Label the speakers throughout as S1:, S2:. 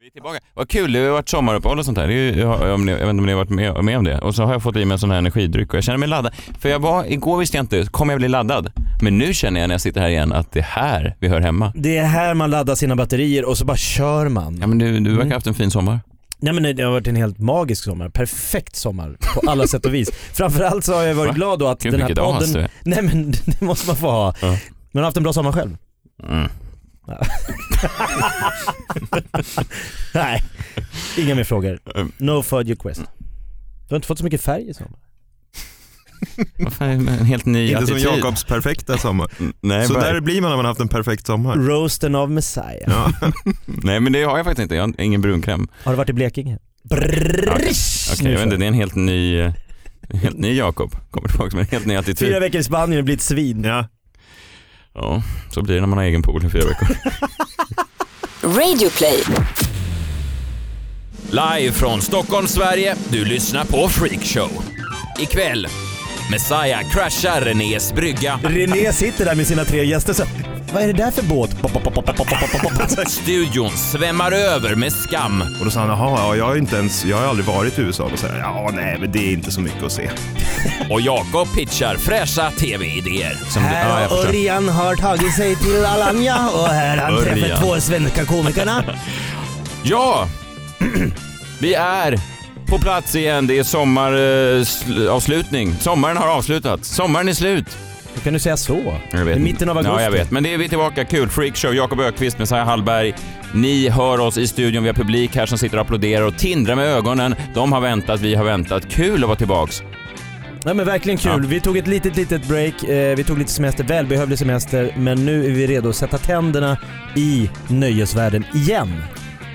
S1: Vi är tillbaka. Vad kul, det har ju varit sommaruppehåll och sånt här. Det är ju, jag, har- om ni, jag vet inte om ni har varit med, med om det. Och så har jag fått i mig en sån här energidryck och jag känner mig laddad. För jag var, igår visste jag inte, kommer jag bli laddad? Men nu känner jag när jag sitter här igen att det är här vi hör hemma.
S2: Det är här man laddar sina batterier och så bara kör man.
S1: Ja men du, du verkar ha haft en fin sommar.
S2: Nej men det har varit en helt magisk sommar, perfekt sommar på alla sätt och vis. Framförallt så har jag
S1: Va?
S2: varit glad då att
S1: Gud
S2: den här
S1: vilket as
S2: podden...
S1: du är.
S2: Nej men det måste man få ha.
S1: Ja.
S2: Men har haft en bra sommar själv?
S1: Mm.
S2: Nej, inga mer frågor.
S1: Mm.
S2: No further quest. Du har inte fått så mycket färg i sommar.
S1: Vad fan, en helt ny
S3: Inte
S1: attityd.
S3: som Jakobs perfekta sommar.
S1: Nej,
S3: så
S1: bara-
S3: där blir man när man haft en perfekt sommar.
S2: Roasten av Messiah.
S3: Ja.
S1: Nej men det har jag faktiskt inte, jag har ingen brunkräm.
S2: Har du varit i Blekinge? Brrrrish!
S1: Okej, jag vet inte, det är en helt ny, eh, en helt ny Jakob. Kommer tillbaka med en helt ny
S2: Fyra
S1: attityd.
S2: veckor i Spanien och blir ett svin.
S3: Ja.
S1: Ja, så blir det när man har egen pool i fyra veckor.
S4: Radio play.
S1: Live från Stockholm, Sverige. Du lyssnar på Freakshow. Ikväll, Messiah kraschar Renés brygga.
S2: René sitter där med sina tre gäster så vad är det där för båt? Pop, pop, pop, pop, pop, pop, pop, pop.
S1: Studion svämmar över med skam.
S3: Och då sa han, jaha, ja, jag, har inte ens, jag har aldrig varit i USA. Och så här, ja, nej, men det är inte så mycket att se.
S1: Och Jakob pitchar fräscha tv-idéer.
S3: Som det, ja,
S2: Här
S3: jag
S2: har
S3: förstår.
S2: Örjan har tagit sig till Alanya och här har han
S1: Örjan.
S2: träffat två svenska komikerna.
S1: Ja! Vi är på plats igen. Det är sommaravslutning. Sommaren har avslutats. Sommaren är slut.
S2: Hur kan du säga så?
S1: Jag vet
S2: I
S1: inte.
S2: mitten av augusti.
S1: Ja, jag vet. Men det är vi tillbaka. Kul. Freakshow. Jakob Ökvist, Messiah Hallberg. Ni hör oss i studion. Vi har publik här som sitter och applåderar och tindrar med ögonen. De har väntat, vi har väntat. Kul att vara tillbaks.
S2: Nej men verkligen kul.
S1: Ja.
S2: Vi tog ett litet, litet break. Eh, vi tog lite semester, välbehövlig semester. Men nu är vi redo att sätta tänderna i nöjesvärlden igen.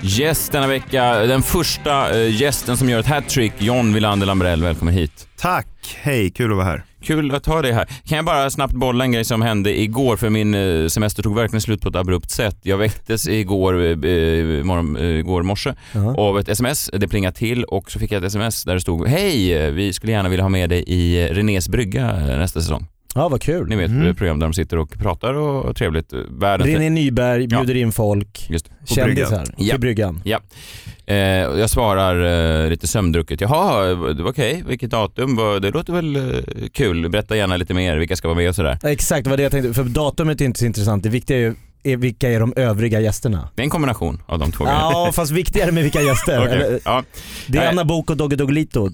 S1: Gäst denna vecka, den första eh, gästen som gör ett hattrick, John Wilander Lambrell. Välkommen hit.
S3: Tack, hej, kul att vara här.
S1: Kul att ha dig här. Kan jag bara snabbt bolla en grej som hände igår för min eh, semester tog verkligen slut på ett abrupt sätt. Jag väcktes igår, eh, eh, morgon, eh, igår morse av ett sms. Det plingade till och så fick jag ett sms där det stod Hej, eh, vi skulle gärna vilja ha med dig i Renés brygga eh, nästa säsong.
S2: Ja vad kul.
S1: Ni vet det program där de sitter och pratar och och trevligt. eh, Världens
S2: Mm. René Nyberg bjuder in folk,
S1: Just det.
S2: kändisar,
S3: bryggan.
S1: Ja.
S2: till bryggan.
S1: Eh, och jag svarar eh, lite sömndrucket. Jaha, det var okej, vilket datum? Vad- Det låter väl eh, kul. Berätta gärna lite mer, vilka ska vara med och sådär.
S2: Ja, Exakt, det var det jag tänkte. För datumet är inte så intressant. Det viktiga är ju är, vilka är de övriga gästerna.
S1: Det är en kombination av de två grejerna.
S2: Ja fast viktigare med vilka gäster.
S1: Okej,
S2: Eller,
S1: ja.
S2: Det är
S1: Nej.
S2: Anna Book och Dogge Doggelito.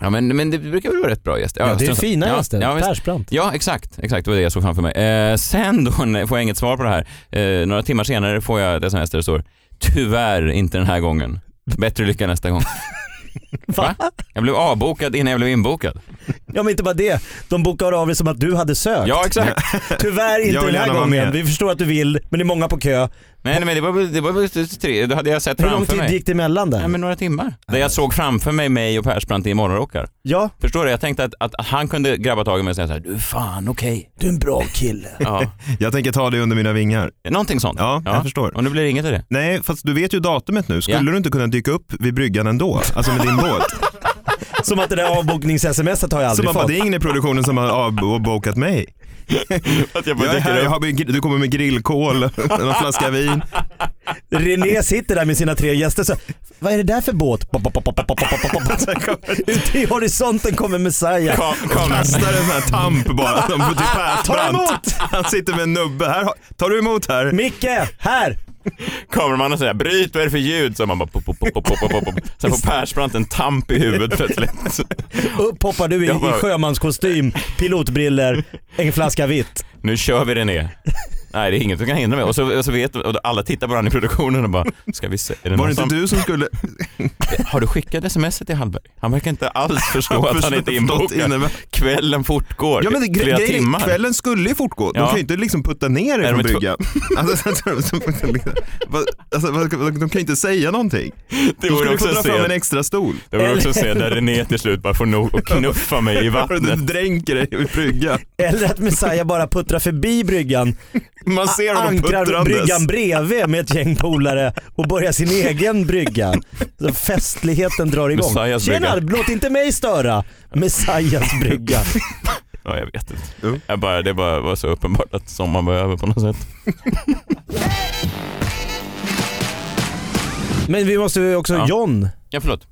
S1: ja, men, men det brukar väl vara rätt bra gäster.
S2: Ja, det är
S1: strunt-
S2: fina
S1: ja,
S2: gäster.
S1: Ja, visst.
S2: Persbrandt.
S1: ja, exakt. Exakt, det var det jag såg framför mig. Eh, sen då när- får jag inget svar på det här. Eh, några timmar senare får jag ett sms där det står Tyvärr inte den här gången. Bättre lycka nästa gång. Va? Jag blev avbokad innan jag blev inbokad.
S2: Ja men inte bara det, de bokar av det som att du hade sökt.
S1: Ja, exakt.
S2: Tyvärr
S3: Jag
S2: inte
S3: vill
S2: den här
S3: gärna vara
S2: gången.
S3: med.
S2: Vi förstår att du vill, men det är många på kö.
S1: Nej, nej men det var väl- det var väl tre, då hade jag sett
S2: Hur lång
S1: framför
S2: tid
S1: mig.
S2: gick det emellan där?
S1: Nej, men några timmar. Där jag såg framför mig mig och Persbrandt i morgonrockar.
S2: Ja,
S1: Förstår du? Jag tänkte att, att han kunde grabba tag i mig och säga så här, du fan okej.
S2: du är en bra kille.
S1: Ja.
S3: Jag tänker ta dig under mina vingar.
S1: Någonting sånt.
S3: Ja, jag förstår.
S1: Och nu blir det inget av det.
S3: Nej, fast du vet ju datumet nu. Skulle
S1: Ja.
S3: du inte kunna dyka upp vid bryggan ändå? Alltså med din båt?
S2: Som att det där avboknings-smset har jag
S3: Så
S2: aldrig
S3: man bara,
S2: fått.
S3: det är ingen i produktionen som har avbokat mig.
S1: Att
S3: Jag är här, jag har, med- du kommer med grillkol, en flaska vin.
S2: René sitter där med sina tre gäster så vad är det där för båt? Pop, pop, pop, pop, pop, pop, pop, pop. Ute i horisonten kommer Messiah.
S3: Kastar en sån här tamp bara. som på typ
S2: Ta
S3: Persbrandt.
S2: emot!
S3: Han sitter med en nubbe. Här, har- tar du emot här?
S2: Micke, här!
S1: Kameramannen säger bryt vad är det för ljud? Så man bara pop, pop, pop, pop, pop, pop, pop. Sen får Persbrandt en tamp i huvudet plötsligt.
S2: Upp hoppar du i,
S1: Jag bara-
S2: i sjömanskostym, pilotbriller, en flaska vitt.
S1: Nu kör vi René. Nej, det är inget som kan hindra mig. Och så, och så vet och alla tittar på varandra i produktionen och bara, ska vi se, är det
S3: Var
S1: någon
S3: det inte
S1: som,
S3: du som skulle...
S1: har du skickat sms till Hallberg? Han verkar inte alls förstå att han inte är
S3: förstått
S1: inbokad.
S3: innebär-
S1: Kvällen fortgår
S3: Ja men det, gre-
S1: flera
S3: grejen är,
S1: timmar.
S3: kvällen skulle ju fortgå. De
S1: Ja.
S3: kan ju inte liksom putta ner
S1: Nej,
S3: er från
S1: de är tv-
S3: bryggan. Alltså, så- så- så- vad- alltså, vad- de kan ju inte säga någonting.
S1: Det
S3: De skulle
S1: vore
S3: ju få
S1: också
S3: dra fram en
S1: se,
S3: extra stol.
S1: det vore också se där René till slut bara får nog och knuffa mig i
S3: Du
S1: vattnet.
S3: dränker dig i bryggan.
S2: Eller att Messiah bara puttrar förbi bryggan,
S3: Man ser honom
S2: ankrar bryggan
S3: puttrandes.
S2: bredvid med ett gäng polare och börjar sin egen brygga. Så festligheten drar igång.
S1: Messiahs
S2: Tjena, låt inte mig störa. Messiahs brygga.
S1: Ja, jag vet inte.
S3: Jo.
S1: Jag bara, det bara var så uppenbart att sommaren var över på något sätt.
S2: Men vi måste ju också,
S1: Ja.
S2: John,
S1: Ja, förlåt.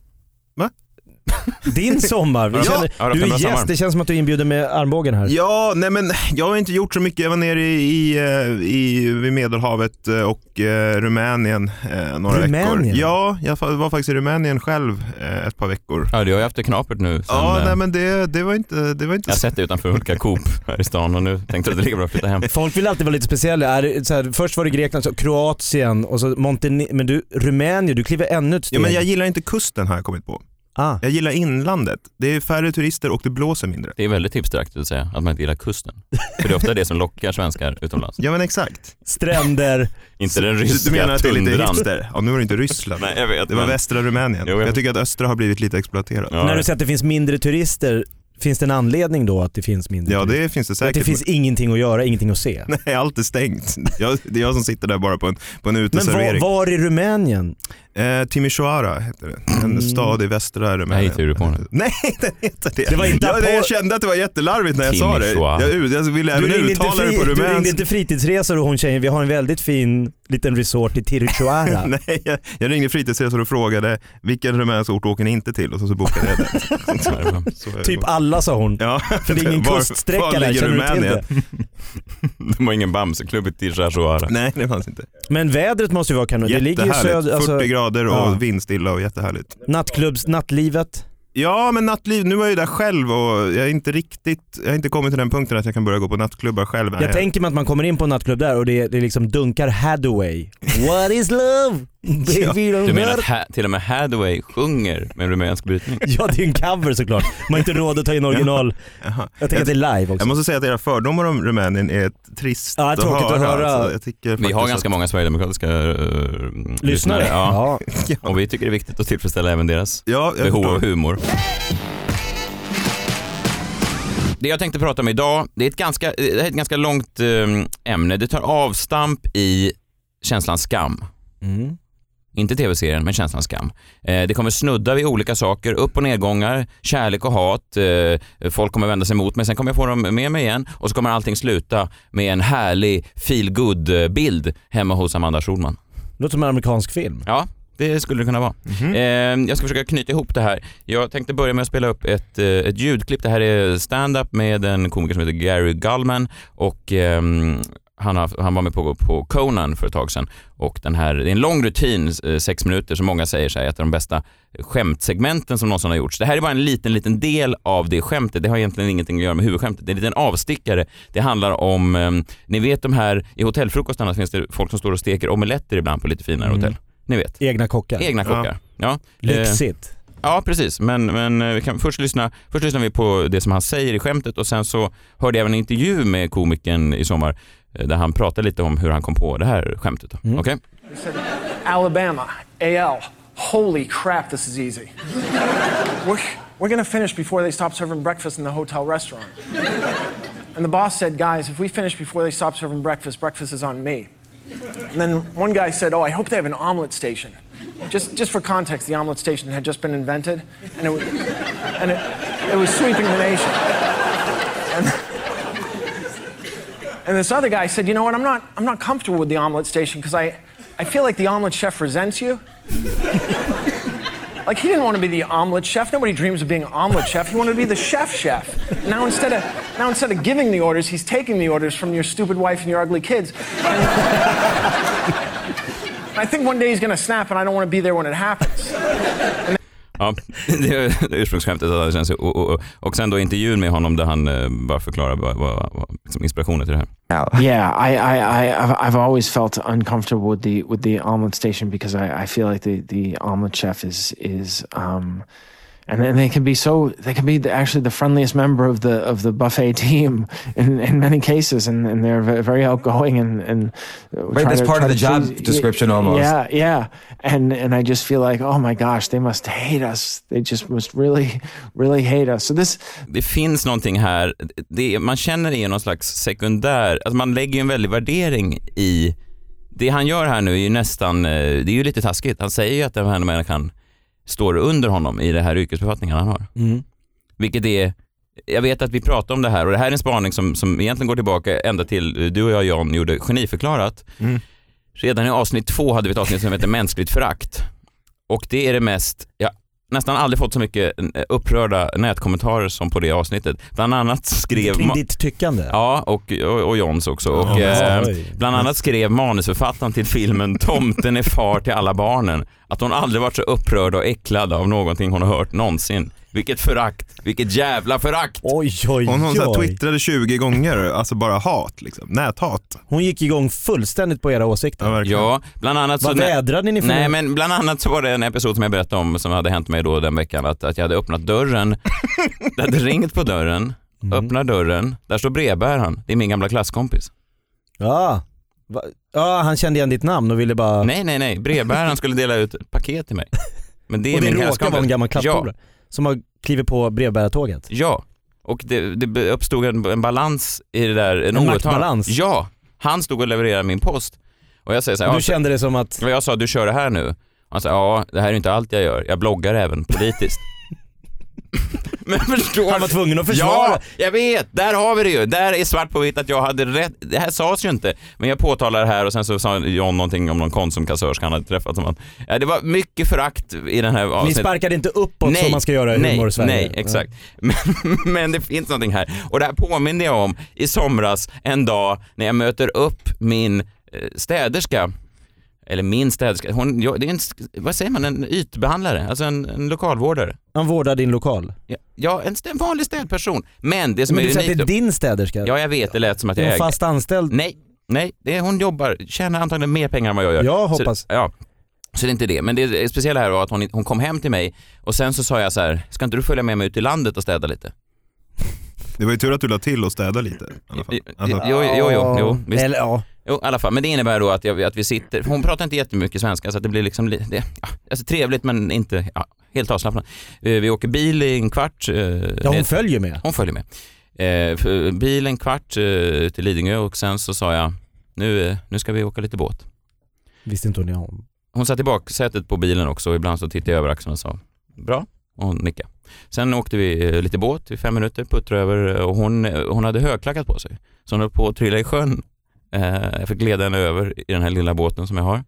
S2: din sommar. Vi
S1: Ja.
S2: känner,
S1: Ja, det har
S2: du
S1: varit en
S2: är
S1: bra
S2: gäst,
S1: sommar.
S2: det känns som att du inbjuder med armbågen här.
S3: Ja, nej men jag har inte gjort så mycket. Jag var nere i, i, eh, i vid Medelhavet eh, och eh, Rumänien eh, några
S2: Rumänien?
S3: veckor. Ja, jag fa- var faktiskt i Rumänien själv eh, ett par veckor.
S1: Ja, du har ju haft det knapert nu. Sen,
S3: ja,
S1: eh,
S3: nej men det, det var inte, det var inte
S1: Jag har sett det utanför olika Coop här i stan och nu tänkte jag att det lika bra att flytta hem.
S2: Folk vill alltid vara lite speciella. Är det så här, först var det Grekland, så Kroatien och så Montenegro. Men du, Rumänien, du kliver ännu ett steg.
S3: Ja, men jag gillar inte kusten har jag kommit på.
S2: ah.
S3: Jag gillar inlandet. Det är färre turister och det blåser mindre.
S1: Det är väldigt hipsterakt att säga att man inte gillar kusten. För det är ofta det som lockar svenskar utomlands.
S3: Ja men exakt.
S2: Stränder.
S1: Inte den
S3: Du,
S1: ryska
S3: du menar att det är lite
S1: tundran.
S3: hipster? Ja nu var det inte Ryssland.
S1: Nej, jag vet,
S3: det var
S1: men-
S3: västra Rumänien.
S1: Jo, jag-
S3: jag... tycker att östra har blivit lite exploaterat. Ja,
S1: Ja.
S2: När du säger att det finns mindre turister, finns det en anledning då att det finns mindre turister?
S3: det finns det
S2: Att
S3: säkert.
S2: det finns ingenting att göra, ingenting att se.
S3: men- Nej, allt är stängt. Jag, det är jag som sitter där bara på en, på en
S2: Men var,
S3: uteservering.
S2: var i Rumänien?
S3: Eh, Timisoara heter det. En
S2: Mm.
S3: stad i västra
S1: Nej,
S3: Rumänien.
S1: hittar du på nu.
S3: Nej, det heter det.
S2: Det var inte
S3: jag,
S2: på-
S3: jag kände att det var jättelarvigt när jag sa det.
S1: Timișoara.
S3: Jag, ut- jag ville även
S2: inte
S3: uttala det
S2: fri-
S3: på
S2: du ringde
S3: rumänsk.
S2: inte fritidsresor och hon tjejen, vi har en väldigt fin liten resort i Timisoara.
S3: Nej, jag, jag ringde fritidsresor och frågade vilken rumänsk ort åker ni inte till och så, så bokade jag det. Så är det.
S2: typ alla sa hon.
S3: Ja.
S2: För det är ingen
S3: Var-
S2: kuststräcka
S3: var
S2: där,
S3: ligger
S2: känner du till
S3: Rumänien?
S2: det?
S1: De har ingen Bamseklubb i Timisoara.
S3: Nej, det fanns inte.
S2: Men vädret måste ju vara kanon. Det ligger ju
S3: Jättehärligt.
S2: söder, alltså,
S3: 40 grader och
S2: ja.
S3: vindstilla och jättehärligt.
S2: nattklubbs, nattlivet.
S3: Ja, men nattliv, nu är jag ju där själv och jag är inte riktigt, jag har inte kommit till den punkten att jag kan börja gå på nattklubbar själv.
S2: Jag tänker mig att man kommer in på en nattklubb där och det, det liksom dunkar Hathaway. What is love? Baby don't
S1: Du menar
S2: hurt.
S1: att ha, till och med Hathaway sjunger med en rumänsk brytning?
S2: Ja det är en cover såklart. Man har inte råd att ta in original.
S3: Jaha.
S2: Jag tänker att det är live
S3: Jag
S2: också.
S3: måste säga att era fördomar om Rumänien är trist
S2: Ja, tråkigt att höra.
S3: Alltså, jag tycker
S1: Vi
S3: faktiskt
S1: har ganska
S3: att-
S1: många sverigedemokratiska eh,
S2: Lyssnare?
S1: Ja.
S2: Ja.
S1: Och vi tycker det är viktigt att tillfredsställa även deras
S3: Ja, jag
S1: behov av
S3: förstår.
S1: humor. Det jag tänkte prata om idag, det är ett ganska, eh, det här är ett ganska långt eh, ämne. Det tar avstamp i känslan skam.
S2: Mm.
S1: Inte tv-serien, men känslan skam. Eh, det kommer snudda vid olika saker, upp och nedgångar, kärlek och hat. Eh, folk kommer vända sig mot mig, sen kommer jag få dem med mig igen och så kommer allting sluta med en härlig feel good bild hemma hos Amanda Schulman.
S2: Låter som en amerikansk film.
S1: Ja, det skulle det kunna vara. Eh, jag ska försöka knyta ihop det här. Jag tänkte börja med att spela upp ett, eh, ett ljudklipp. Det här är stand-up med en komiker som heter Gary Gulman och ehm, han, har, han var med på, på Conan för ett tag sedan och den här, det är en lång rutin, eh, sex minuter, som många säger så här, är ett av de bästa skämtsegmenten som någonsin har gjorts. Det här är bara en liten, liten del av det skämtet. Det har egentligen ingenting att göra med huvudskämtet. Det är en liten avstickare. Det handlar om, ehm, ni vet de här, i hotellfrukostarna finns det folk som står och steker omeletter ibland på lite finare
S2: Mm.
S1: hotell. Ni vet.
S2: Egna kockar.
S1: Egna kockar. Ja. Eh,
S2: Lyxigt.
S1: ja, precis. Men, men eh, vi kan först, lyssna, först lyssnar vi på det som han säger i skämtet och sen så hörde jag även en intervju med komikern i sommar eh, där han pratade lite om hur han kom på det här skämtet. då. Okej?
S4: Alabama, AL. Holy crap, this is easy. We're, we're gonna finish before they stop serving breakfast in the hotel restaurant. And the boss said, Guys, if we finish before they stop serving breakfast, breakfast is on me. And then one guy said, Oh, I hope they have an omelet station. Just, just for context, the omelet station had just been invented, and it, wa- and it, it was sweeping the nation. And this other guy said, you know what, I'm not, I'm not comfortable with the omelet station because I, I feel like the omelet chef resents you. like he didn't want to be the omelet chef. Nobody dreams of being an omelet chef. He wanted to be the chef chef. Now instead of, now instead of giving the orders, he's taking the orders from your stupid wife and your ugly kids. And I think one day he's going to snap and I don't want to be there when it happens.
S1: Ja, det är ursprungsskämtet. att han känner sig- Och, och, och. och sen då intervjun med honom där han eh, bara förklarar vad, vad, vad, liksom inspirationen till det här.
S4: Yeah, I, I, I, I've, I've always felt uncomfortable with the with the omelet station because I, I feel like the the omelet chef is is um, and then they can be so they can be the, actually the friendliest member of the of the buffet team in, in many cases, and, and they're ve- very outgoing and and uh, right.
S5: that's part of the job description almost.
S4: Yeah, yeah, and and I just feel like oh my gosh, they must hate us. They just must really really hate us. So this
S1: Det finns någonting här, det, man känner det är någon slags sekundär, alltså man lägger ju en väldig värdering i, det han gör här nu är ju nästan, eh, det är ju lite taskigt, han säger ju att den här människan står under honom i det här yrkesbefattningen han har. Vilket är, jag vet att vi pratar om det här och det här är en spaning som, som egentligen går tillbaka ända till eh, du och jag John gjorde Geniförklarat. Redan i avsnitt två hade vi ett avsnitt som heter Mänskligt förakt. Och det är det mest, jag har nästan aldrig fått så mycket eh, upprörda nätkommentarer som på det avsnittet. Bland annat skrev...
S2: Kring
S1: Ma-
S2: ditt tyckande?
S1: Ja, och, och, och Johns också. Och,
S2: Ja,
S1: eh,
S2: oj.
S1: bland annat skrev manusförfattaren till filmen Tomten är far till alla barnen att hon aldrig varit så upprörd och äcklad av någonting hon har hört någonsin. Vilket förakt, vilket jävla förakt!
S2: Oj, oj,
S3: Hon, hon så här,
S2: oj.
S3: twittrade 20 gånger, alltså bara hat liksom. Näthat.
S2: Hon gick igång fullständigt på era
S3: Ja,
S2: åsikter.
S3: verkligen.
S1: Ja, bland annat så...
S2: Vad vädrade ni för
S1: Nej
S2: något?
S1: men bland annat så var det en episod som jag berättade om som hade hänt mig då den veckan att, att jag hade öppnat dörren, det hade ringt på dörren,
S2: Mm.
S1: öppnar dörren, där står brevbäraren, det är min gamla klasskompis.
S2: Ja. Va- Ja, han kände igen ditt namn och ville bara...
S1: Nej nej nej, brevbäraren skulle dela ut ett paket till mig. Men det är
S2: och det
S1: min
S2: råkar
S1: klasskompis.
S2: vara en gammal
S1: ja,
S2: klasspolare som har klivit på brevbärartåget.
S1: ja, och det, det be- uppstod en, en balans i det där.
S2: En
S1: otal-
S2: maktbalans?
S1: Ja, han stod och levererade min post. Och jag säger så här, ja,
S2: Du kände det som att,
S1: Och jag sa, du kör det här nu. Han sa, ja det här är inte allt jag gör, jag bloggar även politiskt. Men förstår
S2: Han var
S1: du?
S2: tvungen att försvara.
S1: Ja, jag vet. Där har vi det ju. Där är svart på vitt att jag hade rätt. Det här sades ju inte. Men jag påtalar det här och sen så sa John någonting om någon Konsumkassörska han hade träffat. Som han. Ja, det var mycket förakt i den här
S2: ni
S1: avsnittet.
S2: sparkade inte uppåt som man ska göra i
S1: nej,
S2: humor-Sverige.
S1: Nej, exakt. Men, men det finns någonting här. Och det här påminner jag om i somras en dag när jag möter upp min eh, städerska. Eller min städerska. Hon, jag, det är en, vad säger man, en ytbehandlare? Alltså en, en lokalvårdare.
S2: Han vårdar din lokal.
S1: Ja, Ja, en, stä- en vanlig städperson. Men det som
S2: Men
S1: är
S2: du sa att
S1: unikt...
S2: det är
S1: då-
S2: din städerska?
S1: Ja, jag vet. Det lät som att
S2: Är
S1: jag
S2: hon
S1: äger.
S2: Eh, fast anställd?
S1: Nej, nej. Det är, hon jobbar, tjänar antagligen mer pengar än vad jag gör.
S2: Jag hoppas.
S1: Så, ja. Så det är inte det. Men det speciella här var att hon, hon kom hem till mig och sen så sa jag så här, ska inte du följa med mig ut i landet och städa lite?
S3: Det var ju tur att du la till och städa lite. I alla fall. Alltså,
S1: Jo, jo, jo, jo, jo, visst.
S2: Eller ja.
S1: jo i alla fall. Men det innebär då att, jag, att vi sitter, hon pratar inte jättemycket svenska så att det blir liksom, li- det, ja, alltså trevligt men inte ja, helt avslappnat. Eh, Vi åker bil i en kvart. eh,
S2: ja,
S1: ner-
S2: hon följer med.
S1: Hon följer med. Eh, för bil en kvart eh, till Lidingö och sen så sa jag, nu, eh, nu ska vi åka lite båt.
S2: Visste inte hon det om.
S1: Hon satt i baksätet på bilen också och ibland så tittade jag över axeln och sa bra och hon nickade. Sen åkte vi eh, lite båt i fem minuter, puttrade över eh, och hon, eh, hon hade högklackat på sig. Så hon höll på att trilla i sjön. Eh, jag fick leda henne över i den här lilla båten som jag har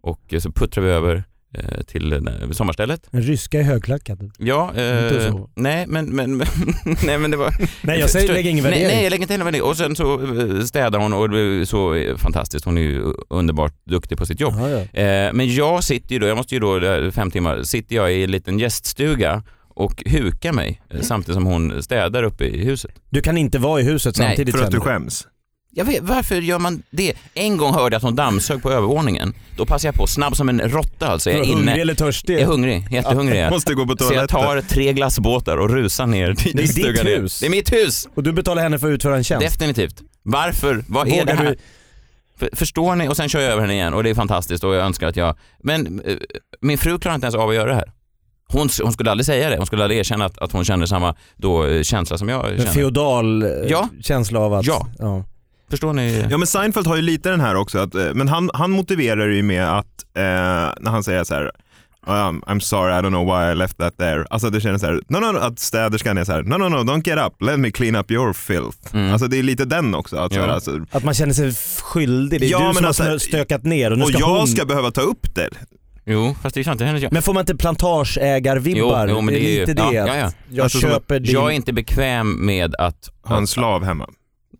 S1: och eh, så puttrade vi över eh, till eh, sommarstället.
S2: En ryska är högklackad.
S1: Ja,
S2: Inte
S1: eh,
S2: så.
S1: nej men, men, nej men det var...
S2: Nej jag säger,
S1: Förstår-
S2: lägg ingen
S1: nej,
S2: värdering.
S1: nej, jag lägger inte heller värdering. Och sen så eh, städar hon och det är så eh, fantastiskt. Hon är ju underbart duktig på sitt jobb.
S2: Ja, ja.
S1: Eh, men jag sitter ju då, jag måste ju då eh, fem timmar, sitter jag i en liten gäststuga och hukar mig eh, samtidigt som hon städar uppe i huset.
S2: Du kan inte vara i huset
S1: Nej,
S2: samtidigt.
S3: för att du
S2: känner
S3: skäms.
S1: Jag vet, varför gör man det? En gång hörde jag att hon dammsög på övervåningen. Då passar jag på, snabb som en råtta alltså. Jag
S2: Var
S1: är
S2: du hungrig
S1: inne.
S2: eller törstig?
S1: Jag är hungrig, jättehungrig. är jag.
S3: Måste gå på
S1: Så jag
S3: toaletten.
S1: tar tre glassbåtar och rusar ner till
S2: Det är ditt
S1: gäststugan igen.
S2: hus.
S1: Det är mitt hus!
S2: Och du betalar henne för att utföra en tjänst?
S1: Definitivt. Varför? Vad är det
S2: Vågar
S1: här?
S2: du?
S1: För, förstår ni? Och sen kör jag över henne igen och det är fantastiskt och jag önskar att jag... Men eh, min fru klarar inte ens av att göra det här. Hon, hon skulle aldrig säga det. Hon skulle aldrig erkänna att, att hon känner samma då, eh, känsla som jag
S2: En
S1: känner.
S2: feodal eh,
S1: Ja.
S2: känsla av att...
S1: Ja. förstår ni?
S3: Ja men Seinfeld har ju lite den här också, att, eh, men han, han motiverar ju med att eh, när han säger så här Um, I'm sorry, I don't know why I left that there. Alltså det känns så här, no, no, no, att städerskan är så här, no, no, no, don't get up, let me clean up your filth.
S1: Mm.
S2: Mm.
S3: Alltså det är lite den också. Att, så här,
S1: Ja.
S3: alltså,
S2: Att man känner sig f- skyldig. Det är
S3: Ja,
S2: du
S3: men
S2: som
S3: alltså-
S2: har snö- stökat ner och nu
S3: och
S2: ska
S3: jag
S2: hon...
S3: ska behöva ta upp det.
S1: Jo, fast det är inte hennes jobb.
S2: Men får man inte plantageägarvibbar?
S1: Jo, jo, men det är ju-
S2: lite det
S1: ja,
S2: att
S1: ja, ja.
S2: jag
S3: Alltså, som
S2: köper din...
S1: Jag är inte bekväm med att...
S3: Ha en slav hemma.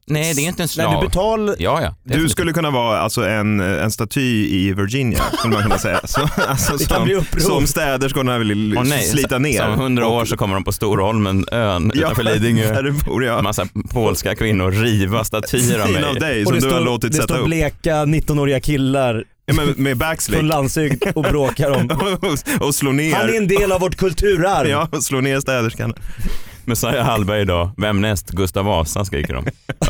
S1: Nej, det är inte en slav.
S2: Nej, du betal...
S1: Ja, ja.
S3: Du skulle kunna vara alltså, en, en staty i Virginia, skulle man kunna säga. Så, alltså,
S2: Det kan bli
S3: som,
S2: uppror.
S3: som städerskorna vill
S1: Åh, nej.
S3: slita ner.
S1: Om hundra år så kommer de på Storholmen, ön utanför Lidingö.
S3: Där du bor, ja.
S1: Massa polska kvinnor riva statyer av
S3: Fin av
S1: mig.
S3: dig
S2: Och
S3: som
S2: det
S3: du har
S2: står-
S3: låtit
S2: Det
S3: sätta
S2: står
S3: upp.
S2: bleka 19-åriga killar
S3: Ja, men med
S2: från
S3: backslick.
S2: landsbygd och bråkar om.
S3: och, och slå ner.
S2: Han är en del av vårt kulturarv.
S3: Ja, och slå ner städerskan.
S1: Messiah Hallberg idag, vem näst? Gustav Vasa skriker de. Ja.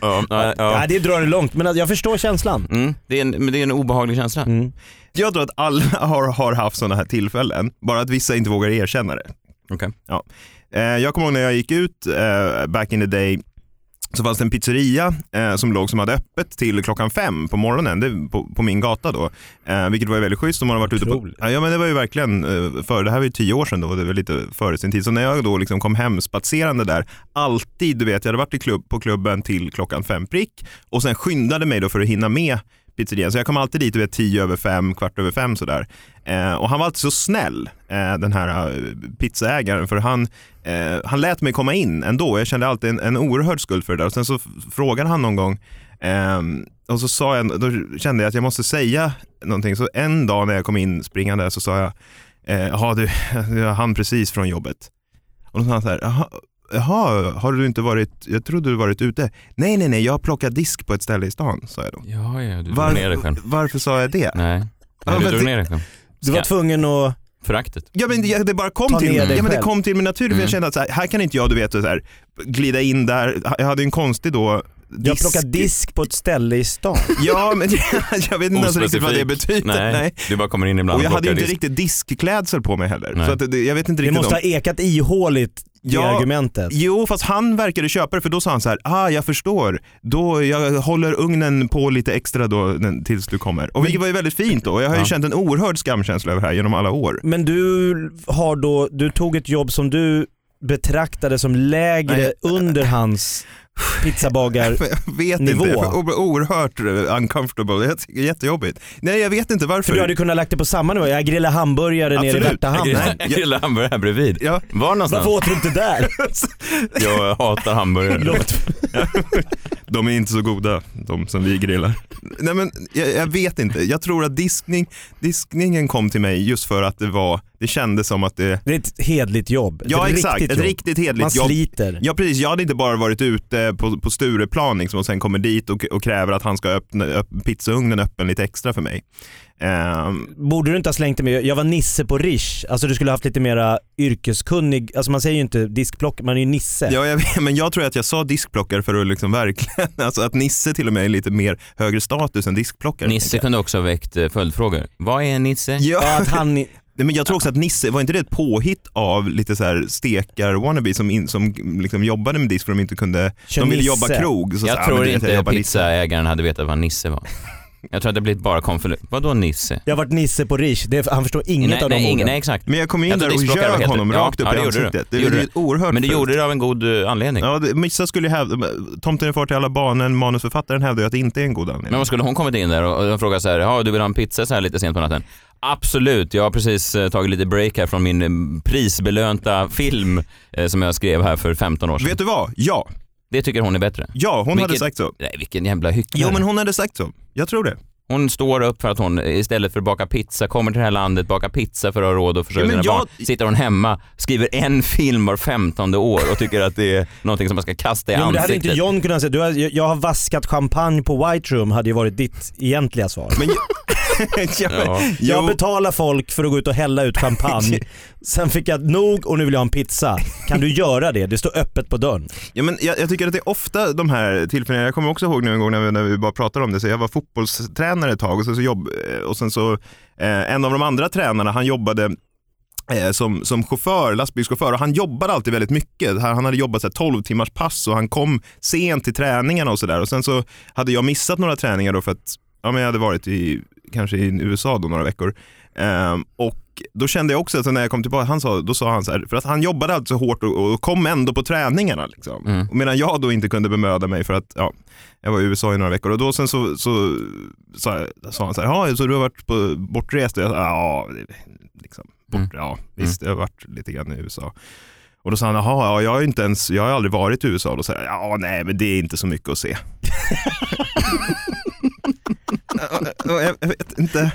S1: Ja, ja, ja.
S2: Nej, det drar det långt, men jag förstår känslan. Mm.
S1: Mm, det, är en, men det är en obehaglig känsla.
S3: Jag tror att alla har, har haft sådana här tillfällen, bara att vissa inte vågar erkänna det.
S1: Okej.
S3: Ja. Eh, jag kommer ihåg när jag gick ut eh, back in the day så fanns det en pizzeria eh, som låg som hade öppet till klockan fem på morgonen det, på, på min gata då. Eh, vilket var ju väldigt schysst. om Man har varit ute på,
S2: Otroligt.
S3: ja, men det var ju verkligen eh, för, det här var ju tio år sedan då, det var lite före sin tid. Så när jag då liksom kom hem spatserande där, alltid, du vet, jag hade varit i klubb, på klubben till klockan fem prick och sen skyndade mig då för att hinna med pizzerian. Så jag kom alltid dit, du vet, tio över fem, kvart över fem sådär. Eh, och han var alltid så snäll, eh, den här eh, pizzaägaren, för han, eh, han lät mig komma in ändå. Jag kände alltid en, en oerhörd skuld för det där. Och sen så f- frågade han någon gång, ehm, och så sa jag, då kände jag att jag måste säga någonting. Så en dag när jag kom in springande så sa jag, eh, jaha du, jag hann precis från jobbet. Och då sa han så här, jaha, jaha, har du inte varit, jag trodde du varit ute. Nej, nej, nej, jag har plockat disk på ett ställe i stan, sa jag då.
S1: Ja, ja, du
S3: Var-
S1: drog ner dig själv.
S3: varför sa jag det?
S1: Nej,
S3: Ja,
S1: Nej du
S3: men
S1: drog
S3: det-
S1: ner dig själv.
S2: Du var
S1: Ska-
S2: tvungen att...
S1: Föraktet.
S3: Ja men det, det bara kom
S2: Ta
S3: till
S2: ner
S3: mig.
S2: dig
S3: Ja, men det
S2: själv.
S3: kom till mig naturligt.
S1: Mm.
S3: för Jag kände att så här, här kan inte jag du vet, så här, glida in där. Jag hade en konstig då disk.
S2: Jag plockade disk på ett ställe i stan.
S3: Ja men jag vet inte ens riktigt vad det betyder.
S1: Ospecifik. Nej. du bara kommer in ibland
S3: Och jag hade
S1: plockar
S3: ju inte
S1: disk.
S3: riktigt diskklädsel på mig heller.
S1: Nej.
S3: Så att det, jag vet inte
S2: Det
S3: riktigt
S2: måste
S3: om...
S2: ha ekat ihåligt, det
S3: Ja.
S2: argumentet.
S3: Jo, fast han verkade köpa det för då sa han så här, ah jag förstår, då, jag håller ugnen på lite extra då den- tills du kommer. Och vilket var ju väldigt fint då, jag har ju
S1: Ja.
S3: känt en oerhörd skamkänsla över det här genom alla år.
S2: Men du har då, du tog ett jobb som du betraktade som lägre
S3: Nej.
S2: under hans pizzabagar...
S3: Jag vet
S2: Nivå.
S3: inte, O- oerhört eh, uncomfortable, jag tycker det är jättejobbigt. Nej jag vet inte varför.
S2: För du hade kunnat lagt det på samma nivå. Jag grillar hamburgare nere i
S3: Absolut.
S2: Värtahamn.
S3: Jag
S1: Jag gillar hamburgare här bredvid.
S3: Ja.
S1: Var någonstans?
S2: Varför åt du inte där?
S1: Jag hatar hamburgare.
S2: Låt-
S3: De är inte så goda, de som vi grillar. Nej men jag, jag vet inte, jag tror att diskning, diskningen kom till mig just för att det var, det kändes som att det
S2: Det är ett hedligt jobb.
S3: Ja
S2: ett
S3: exakt,
S2: riktigt
S3: ett
S2: jobb.
S3: riktigt hederligt
S2: Man
S3: jobb.
S2: sliter.
S3: Ja precis, jag hade inte bara varit ute på, på Stureplan liksom, och sen kommer dit och, och kräver att han ska öppna öpp, pizzaugnen öppen lite extra för mig. Ehm,
S2: Borde du inte ha slängt det med, jag var Nisse på Rish. Alltså du skulle ha haft lite mera yrkeskunnig, alltså man säger ju inte diskplock, man är ju Nisse.
S3: ja, jag vet, men jag tror att jag sa diskplockare för att liksom verkligen, alltså att Nisse till och med är lite mer högre status än diskplockare.
S1: Nisse kunde också ha väckt eh, följdfrågor. Vad är en Nisse?
S2: Ja,
S3: Ja,
S2: att han,
S3: Nej, men jag tror också att Nisse, var inte det ett påhitt av lite så här stekar-wannabe som, in, som liksom jobbade med disk för de inte kunde,
S2: Kör
S3: de ville
S2: Nisse.
S3: jobba krog. Så så här,
S1: Jag
S3: ah,
S1: tror
S3: men du vet, jag
S1: inte
S3: jobbar Nisse.
S1: pizzaägaren hade vetat vad Nisse var. Jag tror att det blivit bara konflikt. Vadå Nisse?
S2: jag har varit Nisse på Rish, det, är- han förstår inget
S1: nej,
S2: av de
S1: nej, ingen,
S2: orden.
S1: nej, exakt.
S3: Men jag kom in
S1: Jag tror
S3: där och
S1: diskbråckare
S3: ljög
S1: heter det.
S3: honom
S1: Ja,
S3: rakt upp
S1: ja,
S3: i
S1: det gjorde du.
S3: ansiktet. Det,
S1: Gjorde
S3: det är
S1: du.
S3: ju oerhört
S1: Men du
S3: fult.
S1: gjorde det av en god eh, anledning.
S3: Ja, det, Missa skulle ju hävda, Tomten är far till alla barnen, manusförfattaren hävdar ju att det inte är en god anledning.
S1: Men vad skulle hon kommit in där och och frågat så här, ja du vill ha en pizza så här lite sent på natten? Absolut, jag har precis eh, tagit lite break här från min eh, prisbelönta film eh, som jag skrev här för 15 år sedan.
S3: Vet du vad? Ja,
S1: Det tycker hon är bättre.
S3: ja hon hade
S1: Vilket-
S3: sagt så.
S1: Nej, vilken jävla hycklare.
S3: Jo men hon hade sagt så. Jag tror det.
S1: Hon står upp för att hon istället för att baka pizza kommer till det här landet, bakar pizza för att ha råd och försörja
S3: Ja, men
S1: sina
S3: jag-
S1: barn. Sitter hon hemma, skriver en film var femtonde år och tycker att det är någonting som man ska kasta i
S2: Jo, men det hade inte
S1: ansiktet.
S2: John kunnat säga. Du har, jag jag har vaskat champagne på White Room hade ju varit ditt egentliga svar.
S3: Men, ja, men,
S1: Ja.
S2: Jag
S3: jo,
S2: betalar folk för att gå ut och hälla ut champagne. Sen fick jag nog och nu vill jag ha en pizza. Kan du göra det? Det står öppet på dörren.
S3: ja, men jag, jag tycker att det är ofta de här tillfällena, jag kommer också ihåg nu en gång när vi, när vi bara pratade om det, så jag var fotbollstränare ett tag och sen så, jobb, och sen så eh, en av de andra tränarna, han jobbade eh, som, som chaufför, lastbilschaufför och han jobbade alltid väldigt mycket. Han han hade jobbat så här 12 timmars pass och han kom sent till träningarna och sådär. Och sen så hade jag missat några träningar då för att ja, men jag hade varit i, kanske i USA då några veckor. Ehm, och då kände jag också att när jag kom tillbaka, han sa, då sa han så här, för att han jobbade alltid så hårt och, och kom ändå på träningarna. Liksom. Och Medan jag då inte kunde bemöda mig för att ja, jag var i USA i några veckor. Och då sen så, så, sa jag- sa han så här, "Ja, så du har varit på,
S1: Mm.
S3: bortrest? Och jag sa, ja, det- liksom, bort, ja visst, jag har varit lite grann i USA. Och då sa han, jaha, ja, jag, har ju inte ens, jag har aldrig varit i USA. Då sa jag, ja nej men det är inte så mycket att se. jag, jag vet inte,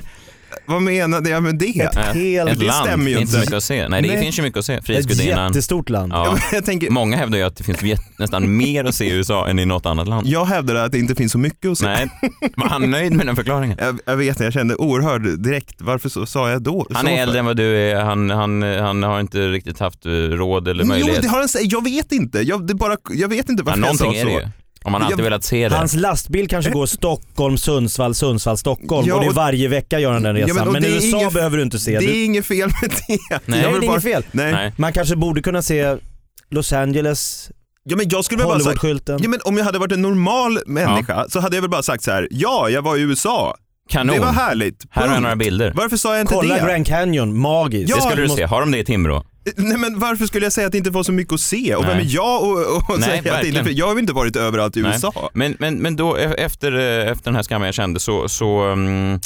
S3: vad menade jag med det?
S2: Ett helt
S1: Ett
S3: det
S1: land,
S3: stämmer ju
S1: finns
S3: inte.
S1: så mycket att se. Nej, det
S2: Nej.
S1: finns ju mycket att se.
S2: Ett
S1: Frihetsgudinnan.
S2: jättestort land.
S1: Ja.
S3: Jag tänker,
S1: Många hävdar ju att det finns jät- nästan mer att se i USA än i något annat land.
S3: jag hävdar att det inte finns så mycket att se.
S1: Nej, var han nöjd med den förklaringen?
S3: Jag, jag vet inte, jag kände oerhörd direkt, varför så, sa jag då?
S1: Han
S3: så
S1: är
S3: för?
S1: äldre än vad du är, han, han, han har inte riktigt haft eh, råd eller
S3: Mm, Jo,
S1: möjlighet.
S3: det har han sagt. Jag vet inte. Jag, det bara, jag vet inte
S1: ja,
S3: varför jag sa
S1: någonting
S3: så.
S1: är det ju. Om man alltid
S3: Jag-
S1: velat se det.
S2: Hans lastbil kanske går Stockholm, Sundsvall, Sundsvall, Stockholm
S3: Ja,
S2: och det är
S3: och-
S2: varje vecka gör han den
S3: Ja,
S2: resan.
S3: och
S2: men
S3: det
S2: i
S3: är
S2: USA
S3: inget-
S2: behöver du inte se.
S3: Det
S2: Du,
S3: är inget fel med det.
S1: Nej,
S3: Jag vill
S2: det är
S3: bara-
S2: inget fel.
S3: Nej.
S1: Nej.
S2: man kanske borde kunna se Los Angeles,
S3: Ja, men jag skulle väl bara sagt,
S2: Hollywoodskylten.
S3: ja, men om jag hade varit en normal människa så hade jag väl bara sagt så här, ja jag var i USA,
S1: Kanon.
S3: det var härligt.
S1: Här har jag
S3: Punkt.
S1: några bilder.
S3: Varför sa jag inte
S2: Kolla
S3: det?
S2: Grand Canyon, magiskt.
S3: Ja,
S1: det skulle du se. Har de det i Timrå?
S3: Nej men varför skulle jag säga att det inte var så mycket att se? Och
S1: Nej.
S3: vem är jag och, och
S1: Nej,
S3: säga att det inte,
S1: verkligen.
S3: Jag har ju inte varit överallt i
S1: Nej.
S3: USA.
S1: Men, men, men då e- efter, eh, efter den här skammen jag kände så, så mm,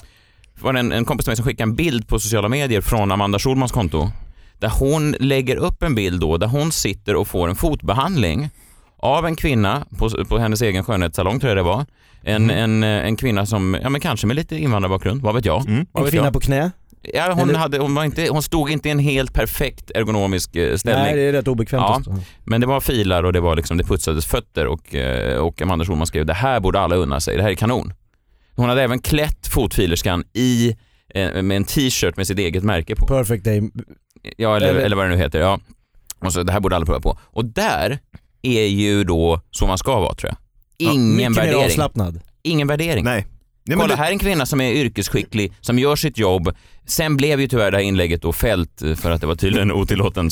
S1: var det en, en kompis till mig som skickade en bild på sociala medier från Amanda Schulmans konto. Där hon lägger upp en bild då där hon sitter och får en fotbehandling av en kvinna på, på hennes egen skönhetssalong tror jag det var. En, en,
S2: Mm.
S1: eh, en kvinna som, ja men kanske med lite invandrarbakgrund, vad vet jag. Vad
S2: Mm. En
S1: vet
S2: kvinna
S1: jag?
S2: på knä.
S1: Ja, hon,
S2: eller-
S1: hade, hon, var inte, hon stod inte i en helt perfekt ergonomisk eh, ställning.
S2: Nej det är rätt obekvämt.
S1: Ja.
S2: också.
S1: Men det var filar och det, var liksom, det putsades fötter och, eh, och Amanda Schulman skrev det här borde alla unna sig, det här är kanon. Hon hade även klätt fotfilerskan i, eh, med en t-shirt med sitt eget märke på.
S2: Perfect day.
S1: Ja, eller,
S2: eller-
S1: eller vad det nu heter. Ja. Och så, det här borde alla prova på. Och där är ju då så man ska vara tror jag. Ingen
S2: Mycket mer
S1: värdering.
S2: avslappnad.
S1: Ingen värdering.
S3: Nej. Nej, men
S1: Kolla,
S3: det,
S1: här är en kvinna som är yrkesskicklig, som gör sitt jobb. Sen blev ju tyvärr det här inlägget då fällt eh, för att det var tydligen otillåten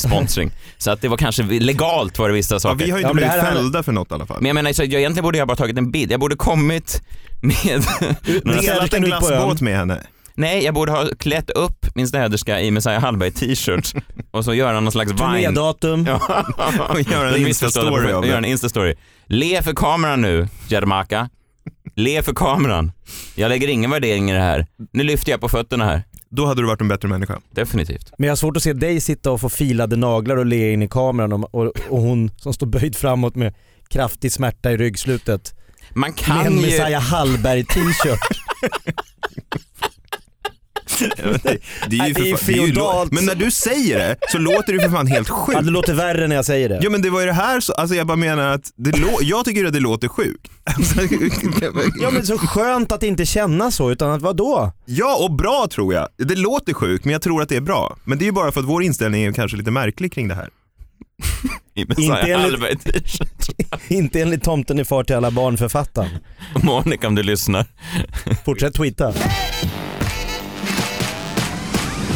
S1: sponsring. Så att det var kanske legalt var det vissa
S3: ja,
S1: saker.
S3: vi har ju inte
S2: Ja, men det
S3: blivit
S2: här handlar-
S3: fällda för något i alla fall.
S1: Men jag menar, så jag egentligen borde jag bara tagit en bild. Jag borde kommit med...
S3: Men
S2: Delat
S3: Delat Mm. en
S2: den ut på
S3: glassbåt med henne.
S1: Nej, jag borde ha klätt upp min städerska i Messiah Hallberg t-shirt och så göra någon slags vine.
S2: Turnédatum.
S1: Ja, och göra en
S3: En
S1: instastory.
S3: Insta-story av
S1: Och
S3: det.
S1: göra en instastory. Le för kameran nu, Jermaka. Le för kameran. Jag lägger ingen värdering i det här. Nu lyfter jag på fötterna här.
S3: Då hade du varit en bättre människa.
S1: Definitivt.
S2: Men jag har svårt att se dig sitta och få filade naglar och le in i kameran och, och, och hon som står böjd framåt med kraftig smärta i ryggslutet.
S1: Man
S2: Med
S1: kan
S2: en
S1: ju...
S2: Messiah Hallberg t-shirt.
S3: Det
S2: Nej, det är
S3: fan- det ju lo-
S2: feodalt.
S3: Men när du säger det så låter det ju för fan helt
S2: ja, det
S3: sjukt.
S2: låter värre när jag säger det.
S3: Ja men det var ju det här, så, alltså jag bara menar att, det lå- jag tycker att det låter sjukt. Alltså,
S2: Ja men så skönt att inte känna så utan att vadå?
S3: ja och bra tror jag. Det låter sjukt men jag tror att det är bra. Men det är ju bara för att vår inställning är ju kanske lite märklig kring det här.
S1: I Messiah
S2: enligt-
S1: Hallberg t-shirt.
S2: Inte enligt tomten är far till alla barn författaren.
S1: Monica om du lyssnar.
S2: Fortsätt tweeta.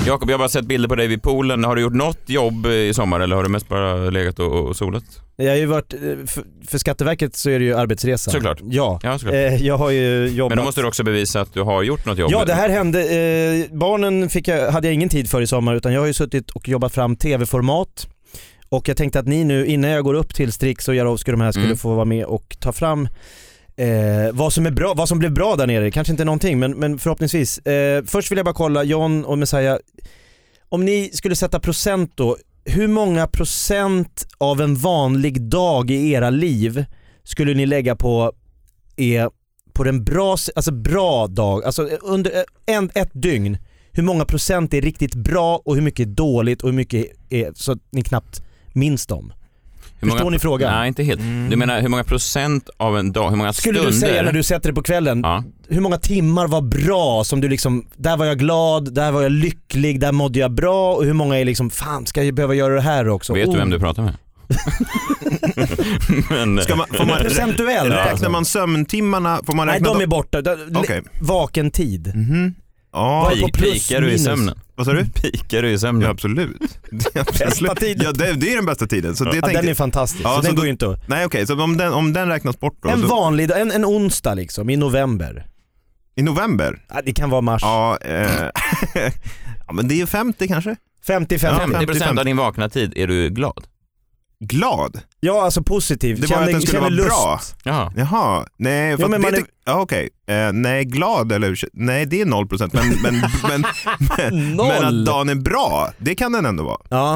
S1: Jakob, jag har bara sett bilder på dig vid poolen. Har du gjort något jobb i sommar eller har du mest bara legat och, och solat?
S2: Jag har ju varit, eh, för, för Skatteverket så är det ju arbetsresa.
S1: Såklart.
S2: Ja.
S1: Ja, såklart.
S2: Eh, Jag har ju jobbat.
S1: Men då måste du också bevisa att du har gjort något jobb.
S2: Ja det här hände, eh, barnen fick jag, hade jag ingen tid för i sommar utan jag har ju suttit och jobbat fram tv-format och jag tänkte att ni nu innan jag går upp till Strix och Jarowski och de här skulle
S1: Mm.
S2: få vara med och ta fram eh, vad, som är bra, vad som blev bra där nere, kanske inte någonting men, men förhoppningsvis. Eh, först vill jag bara kolla John och Messiah, om ni skulle sätta procent då, hur många procent av en vanlig dag i era liv skulle ni lägga på är på den bra, se- alltså bra dag, alltså under en, ett dygn, hur många procent är riktigt bra och hur mycket är dåligt och hur mycket är så att ni knappt minns dem?
S1: Hur många-
S2: Förstår ni frågan? Mm.
S1: Nej, inte helt. Du menar hur många procent av en dag, hur många
S2: Skulle
S1: stunder?
S2: du säga när du sätter dig på kvällen,
S1: Ja.
S2: hur många timmar var bra som du liksom, där var jag glad, där var jag lycklig, där mådde jag bra och hur många är liksom, fan ska jag behöva göra det här också?
S1: Vet du
S2: Oh.
S1: vem du pratar med? Men,
S3: Ska man, får man,
S2: Procentuellt alltså.
S3: räknar man sömtimmarna, får man
S2: Nej
S3: räkna
S2: de är
S3: dem?
S2: borta, Där-
S3: Okej. Mm.
S2: vaken tid.
S3: Ja,
S2: Vad- på
S1: pik,
S2: plus
S1: eh, pikar du i
S2: minus. Hm?
S1: sömnen?
S3: vad sa du?
S1: Pikar du i
S3: Ja,
S1: sömnen?
S3: absolut. Det är absolut.
S2: Bästa tiden.
S3: Ja, det, det är den bästa tiden. Så det
S2: Ja,
S3: tänkte...
S2: den är fantastisk,
S3: Ja,
S2: så
S3: så
S2: den
S3: då-
S2: går ju inte att...
S3: Nej okej, så om den, om den räknas bort då?
S2: En
S3: så,
S2: vanlig dag, en, en onsdag liksom i november.
S3: I november?
S2: Ja, det kan vara mars.
S3: Ja, eh, ja, men det är ju 50 kanske?
S2: 55. Ja,
S3: Ja.
S1: 50 procent
S3: 50.
S1: av din vakna tid är du glad.
S3: Glad?
S2: alltså positivt.
S3: Det var att den skulle vara bra.
S1: Jaha.
S3: Jaha, nej, för
S2: Ja,
S3: att
S2: men
S3: det
S2: man
S3: är... ja, okej. Eh, nej, glad eller nej det är noll procent. Men, men, men, men, men att
S2: Noll.
S3: dagen är bra, det kan den ändå vara.
S2: Ja.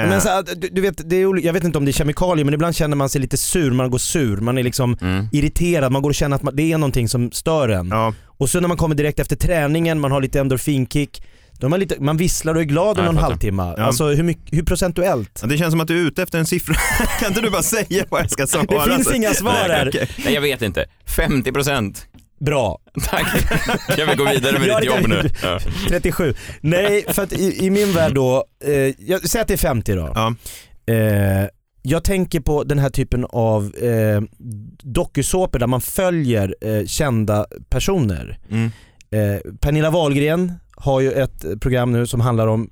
S3: Eh,
S2: Men så, här, du, du vet, det är, oli- jag vet inte om det är kemikalier men ibland känner man sig lite sur, man går sur, man är liksom irriterad, man går och känner att man, det är någonting som stör en.
S3: Mm. ja.
S2: Och så när man kommer direkt efter träningen, man har lite endorfinkick, då är man, lite, man visslar och är glad
S1: Ja,
S2: i
S1: jag
S2: någon
S1: fattar.
S2: halvtimme.
S3: Ja.
S2: Alltså hur, mycket, hur procentuellt?
S3: Ja, Det känns som att du är ute efter en siffra. kan inte du bara säga vad jag ska svara?
S2: Det finns
S3: alltså?
S2: inga svar här.
S3: okej.
S1: Nej jag vet inte. 50 procent.
S2: Bra.
S1: Tack. Jag vill gå vidare med ditt
S2: Ja, det
S1: jobb
S2: kan
S1: nu.
S2: vi.
S1: Ja.
S2: 37. Nej, för att i, i min värld då, eh, jag, säg att det är 50 då.
S3: Ja.
S2: Eh, jag tänker på den här typen av eh, dokusåpor där man följer eh, kända personer.
S3: Mm.
S2: Eh, Pernilla Wahlgren har ju ett eh, program nu som handlar om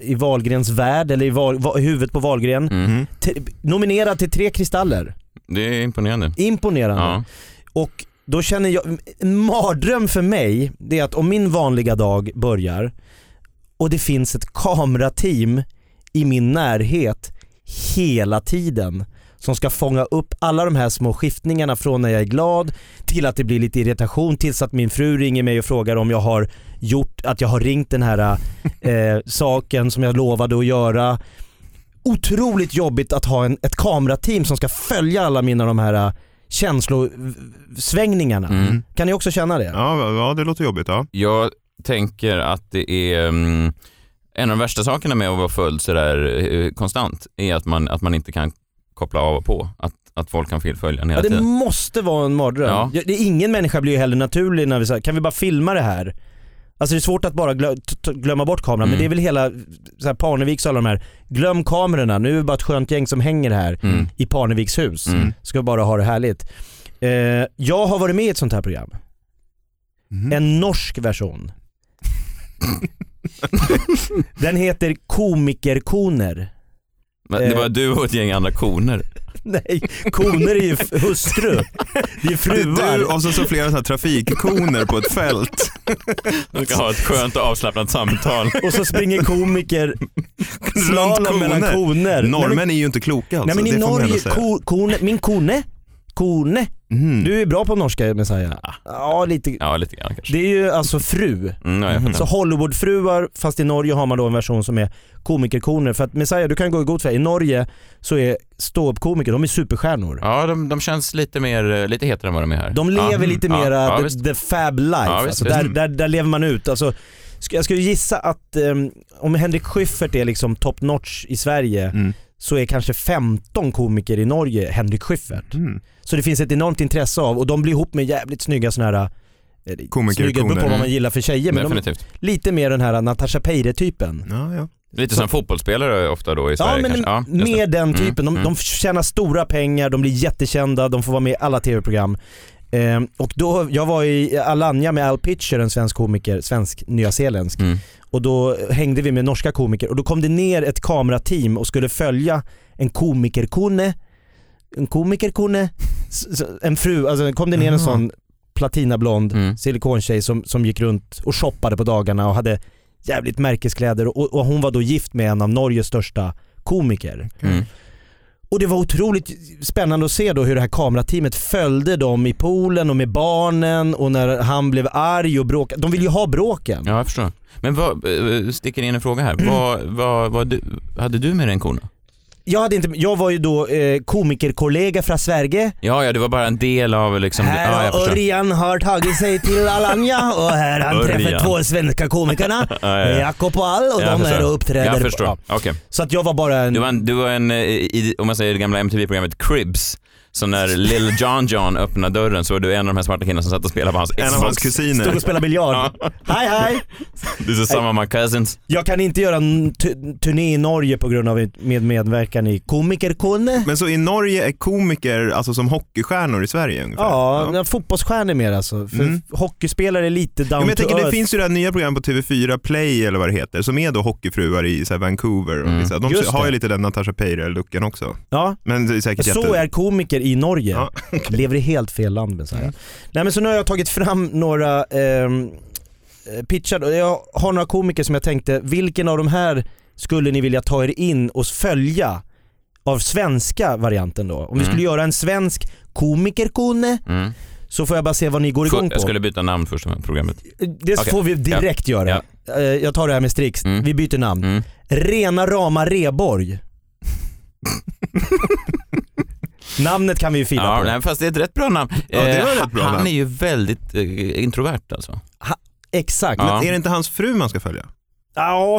S2: i Wahlgrens värld, eller i Wahl, va, huvudet på Wahlgren.
S1: Mm.
S2: T- nominerad till tre kristaller.
S1: Det är imponerande.
S2: Imponerande.
S1: Ja.
S2: Och då känner jag, en mardröm för mig, det är att om min vanliga dag börjar och det finns ett kamerateam i min närhet hela tiden som ska fånga upp alla de här små skiftningarna från när jag är glad till att det blir lite irritation tills att min fru ringer mig och frågar om jag har gjort, att jag har ringt den här eh, saken som jag lovade att göra. Otroligt jobbigt att ha en, ett kamerateam som ska följa alla mina de här eh, känslosvängningarna.
S1: Mm.
S2: Kan ni också känna det?
S3: Ja, ja, det låter jobbigt. Ja.
S1: Jag tänker att det är mm, en av de värsta sakerna med att vara full sådär eh, konstant är att man, att man inte kan koppla av och på. Att, att folk kan följa en hela
S2: Ja, det
S1: tiden.
S2: måste vara en mardröm.
S1: Ja.
S2: Ja. Det är ingen människa blir ju heller naturlig när vi säger kan vi bara filma det här? Alltså det är svårt att bara glö t- t- glömma bort kameran
S1: Mm.
S2: men det är väl hela så här, Parneviks och alla de här, glöm kamerorna, nu är vi bara ett skönt gäng som hänger här
S1: Mm.
S2: i Parneviks hus.
S1: Mm.
S2: Ska bara ha det härligt. Eh, jag har varit med i ett sånt här program. En norsk version. Den heter Komikerkoner.
S1: Men Det var
S2: eh.
S1: du och ett gäng andra koner.
S2: Nej, koner är ju f- hustru. Det är
S3: Det är
S2: fruar.
S3: du och så, så flera sådana här trafikkoner på ett fält.
S1: De ska ha ett skönt och avslappnat samtal.
S2: Och så springer komiker slalom
S3: Runt
S2: mellan koner. Nej, men-
S3: Norrmän är ju inte kloka
S2: Nej
S3: alltså.
S2: men i
S3: det får man ändå
S2: Norge,
S3: säga.
S2: ko, kone, min kone, kone.
S3: Mm.
S2: Du är bra på norska Messiah. Ja lite.
S1: Ja, lite grann kanske.
S2: Det är ju alltså fru.
S1: Mm,
S3: Mm-hmm.
S1: ja, jag fattar.
S2: Så Hollywoodfruar, fast i Norge har man då en version som är komikerkoner. För att Messiah, du kan gå i god för det. I Norge så är ståuppkomiker, de är superstjärnor.
S1: Ja, de, de känns lite mer, eh, lite hetare än vad de är här.
S2: De lever
S1: ja. mm.
S2: lite
S1: ja,
S2: mera
S1: Ja,
S2: the,
S1: visst.
S2: the fab life.
S1: Ja, visst,
S2: alltså,
S1: visst.
S2: där, där, där lever man ut. Alltså, sk- jag skulle gissa att ehm, om Henrik Schyffert är liksom top notch i Sverige
S3: Mm.
S2: så är kanske 15 komiker i Norge Henrik Schyffert.
S3: Mm.
S2: Så det finns ett enormt intresse av, och de blir ihop med jävligt snygga sådana här eller,
S3: Komiker-
S2: snygga, det beror på
S3: koner.
S2: vad man gillar för tjejer men de,
S1: Mm. Definitivt.
S2: lite mer den här Natasha Peire typen.
S3: Ja, ja.
S1: Lite som fotbollsspelare ofta då i
S2: Ja
S1: Sverige
S2: men
S1: kanske. just det.
S2: mer den typen, de,
S1: mm.
S2: de tjänar stora pengar, de blir jättekända, de får vara med i alla tv-program. Ehm, och då, jag var i Alanya med Al Pitcher, en svensk komiker, svensk, nyzeeländsk.
S1: Mm.
S2: Och då hängde vi med norska komiker och då kom det ner ett kamerateam och skulle följa en komikerkone, en komikerkone, s- s- en fru, alltså kom det ner en
S3: Jaha.
S2: sån platinablond
S1: Mm.
S2: silikontjej som, som gick runt och shoppade på dagarna och hade jävligt märkeskläder och, och hon var då gift med en av Norges största komiker.
S1: Mm.
S2: Och det var otroligt spännande att se då hur det här kamerateamet följde dem i poolen och med barnen och när han blev arg och bråkade. De vill ju ha bråken.
S1: Ja, jag förstår. Men vad, eh, sticker in en fråga här. Vad, vad, vad du, hade du med dig en kona?
S2: Jag, hade inte, jag var ju då eh, komikerkollega från Sverige.
S1: Ja, ja, det var bara en del av liksom...
S2: här
S1: ja, jag
S2: har
S1: förstår.
S2: Örjan har tagit sig till Alanya och här har han
S1: Örjan.
S2: träffat två svenska komikerna.
S1: Ja, ja, ja.
S2: Jakob och All och
S1: Ja, jag
S2: de är
S1: förstår.
S2: och uppträder.
S1: Jag
S2: på-
S1: förstår.
S2: ja.
S1: Okej.
S2: Så att jag var bara en...
S1: Du var en, du var en eh, i, om man säger det gamla MTV-programmet Cribs, så när Lil Jon Jon öppnade dörren så var du en av de här svarta killarna som satt och spelade på hans
S3: En av hans
S1: Xbox.
S2: Stod och
S3: kusiner.
S2: spelade biljard. Hej hej!
S1: This is some of my cousins.
S2: Jag kan inte göra en tu- turné i Norge på grund av ett- med medverkan i Komikerkunde.
S3: Men så i Norge är komiker alltså som hockeystjärnor i Sverige ungefär?
S2: Ja, ja. fotbollsstjärnor mer alltså. För
S3: Mm.
S2: hockeyspelare är lite down
S3: Ja, men jag
S2: to
S3: tänker, det
S2: earth.
S3: finns ju det här nya programmet på TV4 Play eller vad det heter som är då hockeyfruar i så här, Vancouver. Och
S1: Mm.
S3: vissa. De
S2: Just
S3: har ju
S2: det.
S3: lite den Natasha Peire-looken också.
S2: Ja.
S3: Men det är säkert
S2: Så
S3: jätte...
S2: är komiker i Norge.
S3: Ja,
S2: Lever i helt fel land med så här. Nej men så nu har jag tagit fram några ehm, eh, pitchar. då. Jag har några komiker som jag tänkte, vilken av de här skulle ni vilja ta er in och följa av svenska varianten då? Om vi skulle göra en svensk komikerkone
S1: Mm.
S2: så får jag bara se vad ni går igång
S1: Får-
S2: på. Eh,
S1: Jag skulle byta namn först med programmet.
S2: Det
S1: Okej.
S2: får vi direkt göra.
S1: Ja. Mm.
S2: eh, jag tar det här med Strix, vi byter namn. Rena rama Reborg. Namnet kan vi ju fila
S1: Ja,
S2: på.
S1: nej, fast det är ett rätt bra namn.
S3: Ja, det var
S1: Eh,
S3: ett rätt bra
S1: han
S3: namn.
S1: är ju väldigt eh, introvert alltså.
S2: Exakt.
S1: Ja.
S2: Ja.
S3: Är det inte hans fru man ska följa?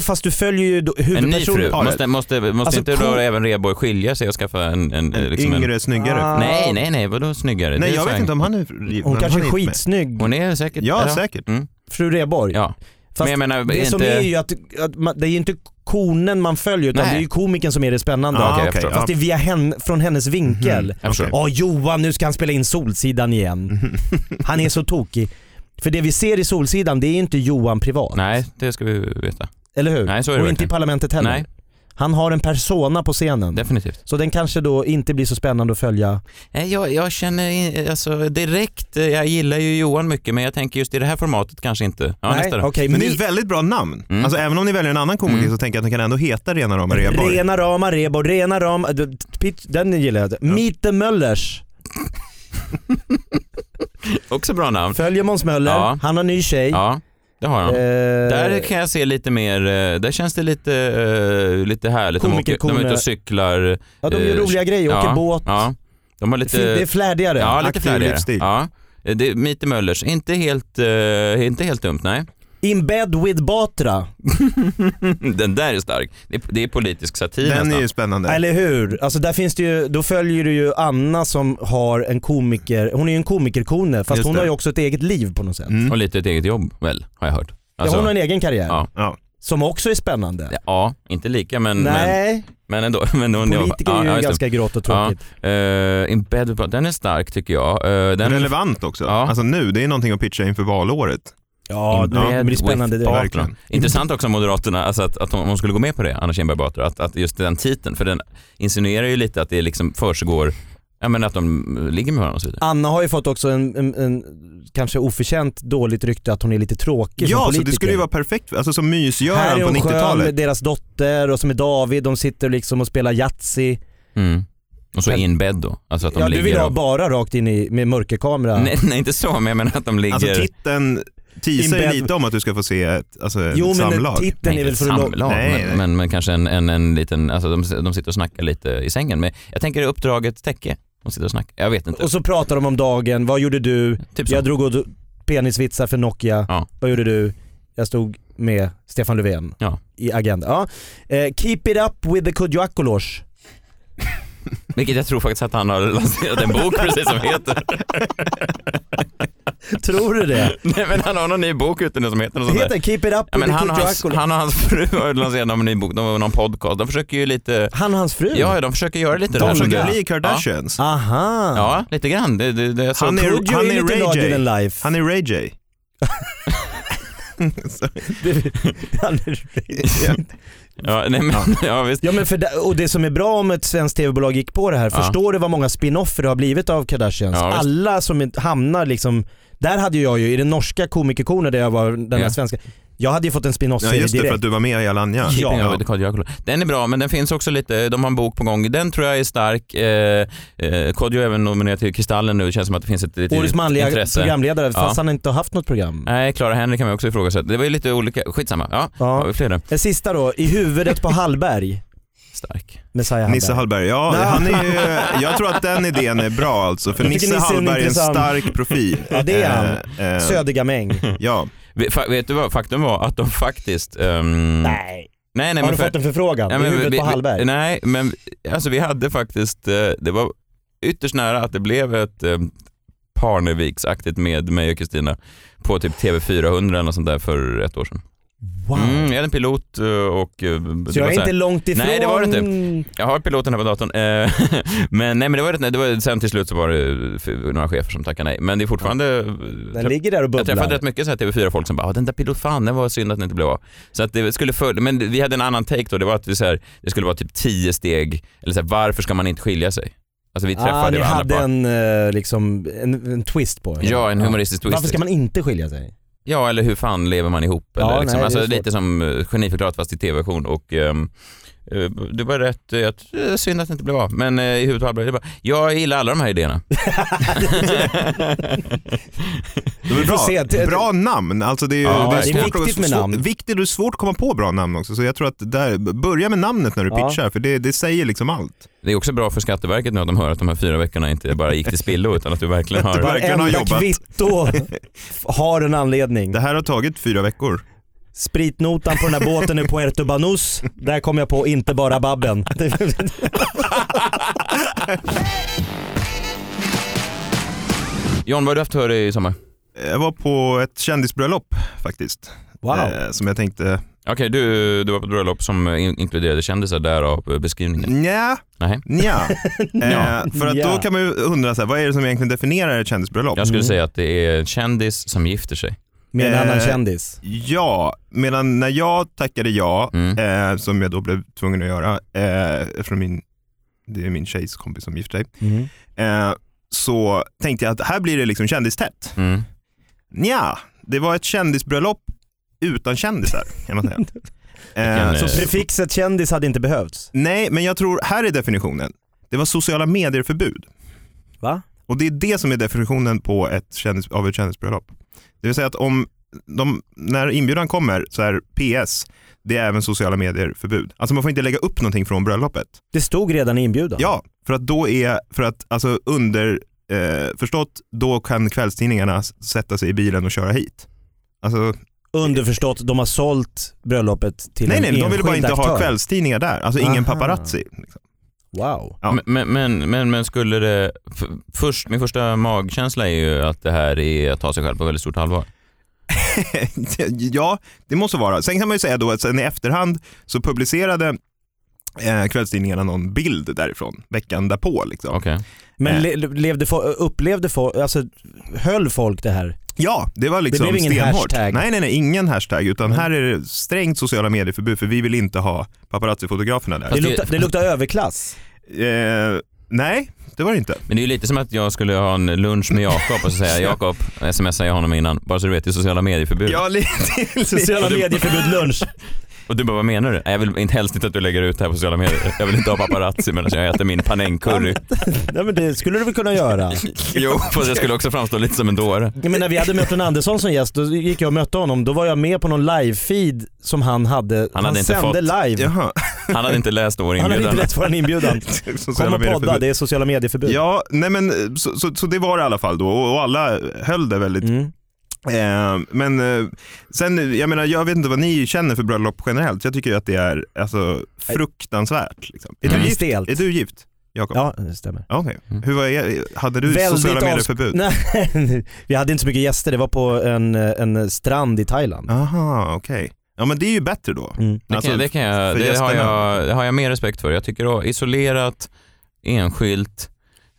S2: fast du följer ju då-
S1: En ny
S2: huvudpersonen.
S1: fru.
S2: Ja,
S1: Måste, måste, måste
S2: Alltså,
S1: inte
S2: cool.
S1: då även Rheborg skilja sig och skaffa en... en, eh,
S3: En
S1: liksom en-
S3: yngre, snyggare
S2: Ah.
S3: fru?
S1: Nej, nej, nej, vadå snyggare? Det
S3: Nej,
S1: är
S3: jag
S1: så
S3: vet
S1: här-
S3: inte om han är
S2: Hon kanske är
S3: är
S2: skitsnygg,
S1: Hon är säkert...
S3: Ja, säkert.
S1: Mm.
S2: fru Reborg.
S1: Ja.
S2: Fast
S1: Men jag menar,
S2: det
S1: inte...
S2: som är ju att, att man, det är ju inte konen man följer utan
S1: Nej.
S2: det är ju komikern som är det spännande.
S3: Ah,
S1: okej, jag
S3: okej,
S1: förstår.
S2: Fast det är via henne, från hennes vinkel.
S1: Jag förstår.
S2: Åh Johan, nu ska han spela in Solsidan igen. Han är så tokig. För det vi ser i Solsidan, det är inte Johan privat.
S1: Nej, det ska vi veta.
S2: Eller hur?
S1: Nej, så är det
S2: Och inte i
S1: verkligen.
S2: Parlamentet heller.
S1: Nej,
S2: Han har en persona på scenen.
S1: definitivt.
S2: Så den kanske då inte blir så spännande att följa.
S1: Nej, jag, jag känner i- alltså, direkt, eh, jag gillar ju Johan mycket men jag tänker just i det här formatet kanske inte. Ja,
S2: Nej,
S1: nästa då.
S2: okej,
S3: Men
S2: men
S3: det är
S2: ni-
S3: ett väldigt bra namn. Alltså även om ni väljer en annan komiker så tänker jag att den kan ändå heta Rena Rama Reborg.
S2: Mm. Rena rama Rebo, rena rama... d- pit- Den gillar jag. Meet the Möllers.
S1: Också bra namn.
S2: Följer Måns Möller,
S1: Ja.
S2: han har ny tjej.
S1: Ja, det har han.
S2: Eh,
S1: Där kan jag se lite mer, eh, där känns det lite, eh, lite härligt. De, åker, de är ute
S2: Komikerkoner.
S1: och cyklar.
S2: ja, de gör
S1: eh,
S2: roliga grejer, åker
S1: ja,
S2: båt.
S1: Ja, de har lite...
S2: Fi- Det är flärdigare.
S1: ja, lite
S3: aktiv
S1: flärdigare.
S3: livsstil.
S1: Ja. Eh, Det är Mite Möllers, inte helt, eh, inte helt dumt, nej.
S2: In bed with Batra.
S1: Den där är stark. Det är, det är politisk satir
S3: Den är
S1: nästan.
S3: ju spännande.
S2: Eller hur? Alltså där finns det ju, då följer du ju Anna som har en komiker, hon är ju en komikerkone fast
S3: Just
S2: hon
S3: det.
S2: har ju också ett eget liv på något sätt.
S3: Mm.
S1: Och lite ett eget jobb väl, har jag hört.
S2: ja,
S1: Alltså,
S2: hon har en egen karriär
S1: Ja.
S3: Ja.
S2: som också är spännande.
S1: ja, inte lika men, men,
S2: Nej,
S1: men ändå. Men hon,
S2: politiker
S1: ja,
S2: är ju
S1: ja, just det.
S2: ganska grått och tråkigt.
S1: Eh, in bed with, den är stark tycker jag. Eh, den
S3: Relevant också.
S1: Ja.
S3: Alltså nu, det är någonting att pitcha inför valåret.
S2: Ja,
S1: In
S2: det
S1: bed
S2: blir spännande
S1: with
S2: det.
S1: Batra.
S3: verkligen.
S1: Mm. Intressant också Moderaterna, alltså att, att hon, hon skulle gå med på det, Anna Kinberg Batra, att, att just den titeln, för den insinuerar ju lite att det liksom försiggår, ja men att de ligger med varandra och så vidare.
S2: Anna har ju fått också en, en, en kanske oförtjänt dåligt rykte att hon är lite tråkig som
S3: Ja, så
S2: politiker.
S3: det skulle ju vara perfekt. Alltså som mysgöran
S2: Här är
S3: på
S2: hon skön med
S3: 90-talet.
S2: deras dotter och som är David, de sitter liksom och spelar Yatzy.
S1: Mm. Och så
S2: Men-
S1: in bed då, alltså att de
S2: Ja du
S1: ligger
S2: vill ha
S1: och,
S2: bara rakt in i, med mörkerkamera.
S1: nej, nej inte så, men jag menar att de ligger...
S3: Alltså titeln
S2: In
S3: teasar
S2: bed-
S3: ju lite om att du ska få se ett, alltså, ett
S2: jo men
S3: samlag.
S2: titeln
S1: Nej,
S2: är väl för att
S1: samlag,
S3: Nej,
S1: men,
S3: nej.
S1: Men, men kanske en, en, en liten, alltså de, de sitter och snackar lite i sängen. Men jag tänker uppdraget täcke. De sitter och snackar, jag vet inte.
S2: Och så pratar de om dagen, vad gjorde du?
S1: typ så.
S2: Jag drog och penisvitsar för Nokia,
S1: Ja.
S2: vad gjorde du? Jag stod med Stefan Löfven
S1: Ja.
S2: i Agenda. Ja. Eh, keep it up with the Kudjoakolos.
S1: Vilket jag tror faktiskt att han har lanserat en bok precis som heter.
S2: Tror du det?
S1: Nej men han har någon ny bok ute nu som heter något
S2: Det
S1: sånt där.
S2: heter Keep it up
S1: Ja,
S2: with
S1: men
S2: the
S1: han, och hans,
S2: Kudjoakolos.
S1: han och hans fru har lanserat någon ny bok, de har någon podcast. De försöker ju lite,
S2: Han och hans fru?
S1: ja de försöker göra lite det här
S3: De
S1: som
S3: försöker
S1: du-
S3: bli Kardashians.
S2: Aha.
S1: Ja, ja lite grann. Det, det, det, så
S3: Han är-
S2: Kudjo
S3: han
S2: är
S3: är
S2: lite
S3: Ray
S2: larger
S3: J.
S2: than life.
S3: Han är Ray J.
S2: Han är-
S1: ja, nej, men, ja, visst.
S2: ja men för det, och det som är bra om ett svenskt tv-bolag gick på det här,
S1: Ja.
S2: förstår du vad många spin-offer det har blivit av Kardashians?
S1: Ja, visst.
S2: Alla som inte hamnar liksom, där hade jag ju i den norska komikerkonen där jag var den här
S1: Ja.
S2: svenska, jag hade ju fått en
S3: Ja,
S2: spin-off-serie
S3: just det, för att
S2: direkt.
S3: du var med i Alanya.
S2: Ja.
S1: Ja, det Kodjo Akola. Den är bra men den finns också lite, de har en bok på gång. Den tror jag är stark. Eh, eh, Kodjo är även nominerad till Kristallen nu, det känns som att det finns ett litet
S2: Årets manliga
S1: intresse.
S2: programledare, fast
S1: Ja.
S2: han inte har haft något program.
S1: Nej, Clara Henrik kan man också ifrågasätta. Det var ju lite olika, skitsamma. Ja,
S2: Ja.
S1: har vi fler där?
S2: Den sista då, I huvudet på Hallberg,
S1: Stark.
S2: Messiah Hallberg.
S3: Nisse Hallberg, ja han är ju, jag tror att den idén är bra alltså. För
S2: Jag tycker
S3: Nisse,
S2: Nisse är en
S3: Hallberg är en
S2: intressant-
S3: stark profil.
S2: Ja, det är han.
S3: Eh, eh,
S2: Södergamäng.
S3: ja.
S1: Vi- fa- Vet du vad, faktum var att de faktiskt... ehm,
S2: Nej.
S1: Nej, nej,
S2: Har
S1: men
S2: du
S1: för-
S2: fått en förfrågan?
S1: Ja,
S2: I
S1: men
S2: huvudet
S1: vi-
S2: på
S1: vi-
S2: Hallberg?
S1: Nej, men alltså, vi hade faktiskt, eh, det var ytterst nära att det blev ett eh, Parneviksaktigt med mig och Kristina på typ TV400 eller något sånt där för ett år sedan.
S2: wow.
S1: Mm, jag hade en pilot eh, och... eh, det
S2: Så jag
S1: var
S2: är
S1: så här-
S2: inte långt ifrån.
S1: Nej, det typ. var det jag har piloten här på datorn. Eh, men nej, men det var rätt, nej, det var, sen till slut så var det f- några chefer som tackade nej. Men det är fortfarande...
S2: Den ligger där och
S1: jag träffade
S2: bubblar.
S1: rätt mycket så här TV4-folk som bara ah, “den där pilot, fan det var synd att den inte blev av”. Så att det skulle för, men vi hade en annan take då, det var att vi så här, det skulle vara typ tio steg, eller så här, varför ska man inte skilja sig? Alltså vi träffade
S2: ah, ni
S1: varandra
S2: hade
S1: bara.
S2: en, eh, liksom, en, en twist på det.
S1: Ja, en humoristisk twist.
S2: Varför ska man inte skilja sig?
S1: Ja, eller hur fan lever man ihop? Eller
S2: Ja,
S1: liksom.
S2: nej, det är
S1: alltså,
S2: svårt.
S1: lite som eh, Geniförklarat fast i tv-version och ehm, eh, det var rätt, eh, att- eh, synd att det inte blev av. Men eh, i huvudet på Albert, det var, jag gillar alla de här idéerna.
S3: Det var
S2: får se. Det-
S3: bra. bra namn, alltså det är, ju-
S1: Ja,
S3: det är,
S1: det är
S3: svårt att-
S2: viktigt med
S3: svår-
S2: namn.
S3: Viktigt och svårt att komma på bra namn också, så jag tror att där, börja med namnet när du
S2: Ja.
S3: pitchar, för det, det säger liksom allt.
S1: Det är också bra för Skatteverket nu att de hör att de här fyra veckorna inte bara gick till spillo utan att du verkligen
S3: Att du
S1: har...
S3: bara- Verkligen har
S2: Varenda
S3: jobbat.
S2: kvitto har en anledning.
S3: Det här har tagit fyra veckor.
S2: Spritnotan på den här båten i Puerto Banús, där kom jag på inte bara Babben.
S1: John, vad har du haft för dig i sommar?
S3: Jag var på ett kändisbröllop faktiskt,
S2: Wow.
S3: eh, som jag tänkte,
S1: Okej, du, du var på ett bröllop som eh, in- inkluderade kändisar, därav eh, beskrivningen.
S3: nja,
S1: Nej.
S3: nja. eh, för att
S2: Nja.
S3: då kan man ju undra, så här, vad är det som egentligen definierar ett kändisbröllop?
S1: Jag skulle säga att det är en kändis som gifter sig.
S2: Med en
S3: Eh,
S2: annan kändis.
S3: Ja, medan när jag tackade ja,
S1: Mm.
S3: eh, som jag då blev tvungen att göra, eh, eftersom min, det är min tjejs kompis som gifter sig,
S1: Mm.
S3: eh, så tänkte jag att här blir det liksom kändistätt.
S1: Mm.
S3: Nja, det var ett kändisbröllop utan kändisar, kan man säga.
S1: Vilken,
S3: Eh,
S1: eh,
S3: så,
S2: Prefixet kändis hade inte behövts.
S3: nej, men jag tror, här är definitionen. Det var sociala medier-förbud.
S2: Va?
S3: Och det är det som är definitionen på ett kändis, av ett kändisbröllop. Det vill säga att om de, när inbjudan kommer så är PS, det är även sociala medier förbud. Alltså man får inte lägga upp någonting från bröllopet.
S2: Det stod redan i inbjudan.
S3: Ja, för att då är, för att alltså under, eh, förstått, då kan kvällstidningarna s- sätta sig i bilen och köra hit. Alltså,
S2: Underförstått, de har sålt bröllopet till
S3: nej
S2: en
S3: nej, de ville bara
S2: enskild
S3: inte
S2: aktör.
S3: ha kvällstidningar där. Alltså ingen
S2: Aha.
S3: paparazzi. Liksom.
S2: Wow.
S3: Ja.
S1: Men- Men, men, men, men skulle det... f- Först, min första magkänsla är ju att det här är att ta sig själv på väldigt stort allvar.
S3: ja, det måste vara. Sen kan man ju säga då att sen i efterhand så publicerade eh, kvällstidningarna någon bild därifrån veckan därpå. Liksom.
S1: Okej.
S2: Men
S3: Eh.
S2: le, levde, fo- upplevde folk, alltså höll folk det här?
S3: Ja, det var liksom
S2: Det blev ingen
S3: stenhårt.
S2: hashtag. Mm.
S3: Nej, nej, nej, ingen hashtag utan här är det strängt sociala medier-förbud för vi vill inte ha paparazzi-fotograferna där.
S2: Det,
S1: Fast det-
S2: lukta, det luktar överklass.
S3: Eh, nej, det var det inte.
S1: Men det är ju lite som att jag skulle ha en lunch med Jakob och så säga Jakob, smsar jag honom innan, bara så du vet, det är sociala medier-förbud.
S3: Ja, lite,
S2: Sociala medieförbud lunch.
S1: Och du bara, vad menar du? "Nej, Jag vill inte helst inte att du lägger ut det här på sociala medier. Jag vill inte ha paparazzi medan jag äter min panengcurry.
S2: Nej men det skulle du väl kunna göra?
S1: Jo, fast jag skulle också framstå lite som en dåre.
S2: Jag menar, vi hade Mårten Andersson som gäst, då gick jag och mötte honom, då var jag med på någon live-feed som han hade, han,
S1: hade inte
S2: sände
S1: fått-
S2: live.
S3: Jaha,
S1: Han hade inte läst vår
S2: Han hade inte
S1: inbjudan.
S2: rätt för en inbjudan. Kom
S3: sociala
S2: och podda,
S3: medier-förbud.
S2: det är sociala medieförbud.
S3: Ja, nej men så, så, så det var det i alla fall då och, och alla höll det väldigt
S2: Mm.
S3: Eh, men eh, sen, jag menar, jag vet inte vad ni känner för bröllop generellt. Jag tycker ju att det är alltså, fruktansvärt. Liksom. Är,
S2: Mm.
S3: du gift?
S2: Stelt.
S3: är du gift, Jakob?
S2: Ja, det stämmer.
S3: Ja, Okej. Hur var er, hade du sociala
S2: avs-
S3: medier-förbud?
S2: Nej, vi hade inte så mycket gäster, det var på en, en strand i Thailand.
S3: Aha, okej. Ja men det är ju bättre då.
S2: Mm.
S1: Det,
S3: Alltså,
S1: kan, det, kan jag,
S3: för
S1: det, har
S3: gästerna.
S1: jag, det har jag mer respekt för. Jag tycker att isolerat, enskilt.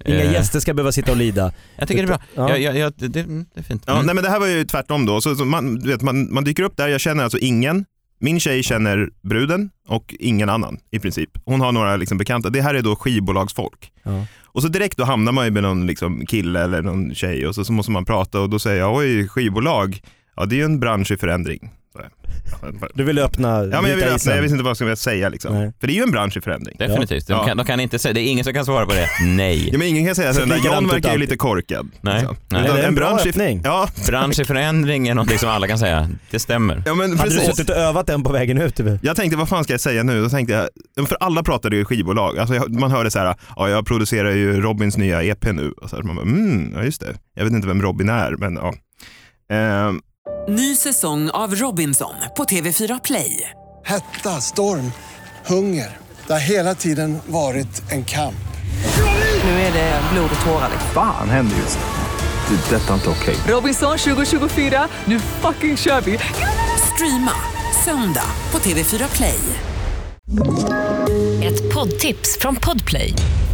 S2: Inga
S1: eh,
S2: gäster ska behöva sitta och lida.
S1: Jag tycker det är bra.
S2: Ja.
S1: Ja. Jag, jag, jag, det, det är fint.
S3: Ja,
S1: Mm.
S3: nej, men det här var ju tvärtom då. Så, så man, du vet, man, man dyker upp där, jag känner alltså ingen. Min tjej känner bruden och ingen annan i princip. Hon har några liksom, bekanta. Det här är då skivbolagsfolk.
S2: Ja.
S3: Och så direkt då hamnar man ju med någon liksom, kille eller någon tjej och så, så måste man prata och då säger jag oj skivbolag, ja det är ju en bransch i förändring. Så jag-
S2: Du vill öppna
S3: Ja, men jag,
S2: vita
S3: vill, öppna,
S2: isen.
S3: jag visste inte vad jag skulle säga liksom.
S2: Nej.
S3: För det är ju en bransch i förändring.
S1: Definitivt. De,
S3: Ja.
S1: kan, de kan inte säga, det är ingen som kan svara på det. Nej.
S3: Ja, men ingen kan säga så,
S2: Så
S3: den där
S2: likadant
S3: John
S2: ut
S3: verkar ju
S2: alltid.
S3: lite korkad.
S1: Nej,
S3: liksom.
S1: nej.
S3: Utan
S2: Eller en bra
S3: i-
S2: öppning.
S3: Ja,
S1: Bransch i förändring är någonting som alla kan säga. Det stämmer.
S3: ja, men
S2: Hade du
S3: precis.
S2: suttit och övat den på vägen ut? Typ?
S3: Jag tänkte, vad fan ska jag säga nu? Då tänkte jag, för alla pratade ju skivbolag. Alltså jag, man hörde så här, ja, jag producerar ju Robins nya EP nu. Och så här, man bara, mm, ja just det. Jag vet inte vem Robin är, men ja. Ehm,
S6: Ny säsong av Robinson på TV4 Play.
S7: Hetta, storm, hunger. Det har hela tiden varit en kamp.
S8: Nu är det blod och tårar.
S9: Fan händer just det. Det är detta inte okej.
S6: Robinson 2024, nu fucking kör vi! Streama söndag på TV4 Play.
S10: Ett poddtips från Podplay.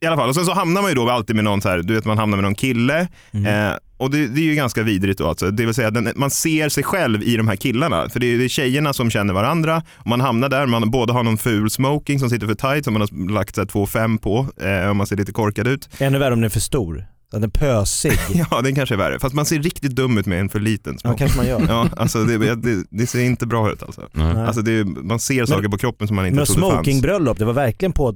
S3: I alla fall, och sen så hamnar man ju då alltid med någon så här, du vet man hamnar med någon kille.
S1: Mm.
S3: Eh, och det, det är ju ganska vidrigt då alltså. Det vill säga den, man ser sig själv i de här killarna. För det är, det är tjejerna som känner varandra. Och man hamnar där, man båda har någon ful smoking som sitter för tight som man har lagt så här 2,5 på. Eh, om man ser lite korkad ut.
S2: Ännu värre om den är för stor. Den är pösig.
S3: Ja, den kanske är värre. Fast man ser riktigt dum ut med en för liten smoking.
S2: kanske man gör.
S3: Ja, alltså det, det, det ser inte bra ut alltså. alltså det, är- man ser saker på kroppen som man inte
S2: Men
S3: trodde fanns.
S2: smokingbröllop, det var verkligen på...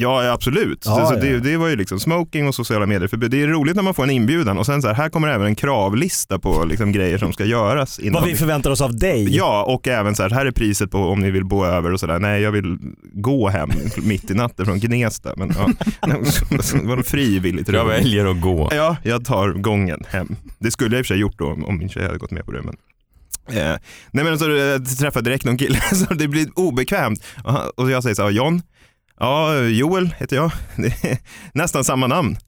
S3: Ja, ja, absolut.
S2: Ja,
S3: så, så
S2: ja,
S3: det,
S2: ja.
S3: det var ju liksom smoking och sociala medier förbud. Det är roligt när man får en inbjudan och sen så här, här kommer även en kravlista på liksom grejer som ska göras. Innan
S2: Vad vi förväntar oss av dig.
S3: Ja, och även så här, här är priset på om ni vill bo över och sådär. Nej, jag vill gå hem mitt i natten från Gnesta. Men ja, det var en frivilligt
S1: Jag väljer att gå.
S3: Ja, jag tar gången hem. Det skulle jag i och för sig gjort då om, om min tjej hade gått med på det. Men... Eh, nej men så eh, träffade direkt någon kille så det blir obekvämt. Och, han, och jag säger så här, John, ja Joel heter jag. Det är Nästan samma namn.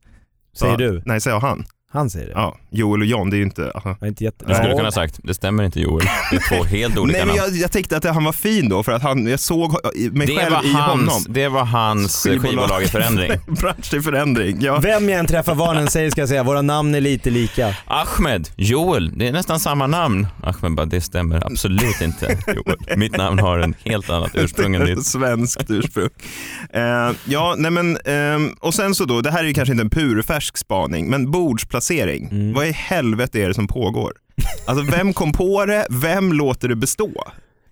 S3: Så-
S2: Säger du?
S3: Nej, säger han.
S2: Han säger det.
S3: Ja, Joel och John, det är ju inte... aha.
S2: Jag är inte jätte...
S1: Du skulle
S3: Ja.
S1: kunna ha sagt, det stämmer inte Joel. Det är två helt olika
S3: Nej men
S1: namn.
S3: jag, jag tänkte att han var fin då för att han, jag såg i- mig
S1: Det
S3: själv i
S1: var,
S3: honom.
S1: hans, det var hans skivbolag i förändring.
S3: Bransch i förändring, ja.
S2: Vem jag än träffar, vad han än säger ska jag säga, våra namn är lite lika.
S1: Ahmed, Joel, det är nästan samma namn. Ahmed bara, det stämmer absolut inte Joel. Mitt namn har en helt annat ursprung än ditt.
S3: Svenskt ursprung. Eh, ja, nej men, ehm, och sen så då, det här är ju kanske inte en purfärsk spaning, men bordsplacering.
S2: Mm.
S3: Vad i helvete är det som pågår? Alltså vem kom på det? Vem låter det bestå?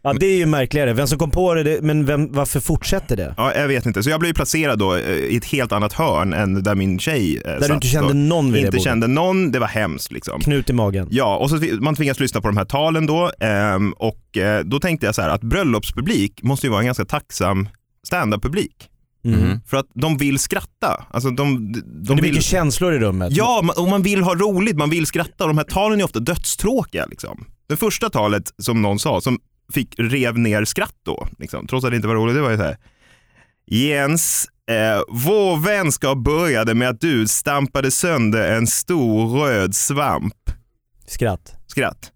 S2: Ja det är ju märkligare, vem som kom på det, det men vem, varför fortsätter det?
S3: Ja, jag vet inte. Så jag blev placerad då eh, i ett helt annat hörn än där min tjej eh,
S2: Där du inte kände
S3: då.
S2: någon vid det
S3: Inte
S2: bordet.
S3: kände någon, det var hemskt liksom.
S2: Knut i magen.
S3: Ja, och så tvi- man tvingas lyssna på de här talen då ehm, och eh, då tänkte jag så här att bröllopspublik måste ju vara en ganska tacksam standup-publik.
S2: Mm.
S3: För att de vill skratta. Alltså de, de,
S2: Det är
S3: vill...
S2: mycket känslor i rummet.
S3: Ja, man- och man vill ha roligt, man vill skratta och de här talen är ofta dödstråkiga. Liksom. Det första talet som någon sa, som fick rev ner skratt då, liksom, trots att det inte var roligt, det var ju så här. Jens, eh, vår vänskap började med att du stampade sönder en stor röd svamp.
S2: Skratt.
S3: Skratt.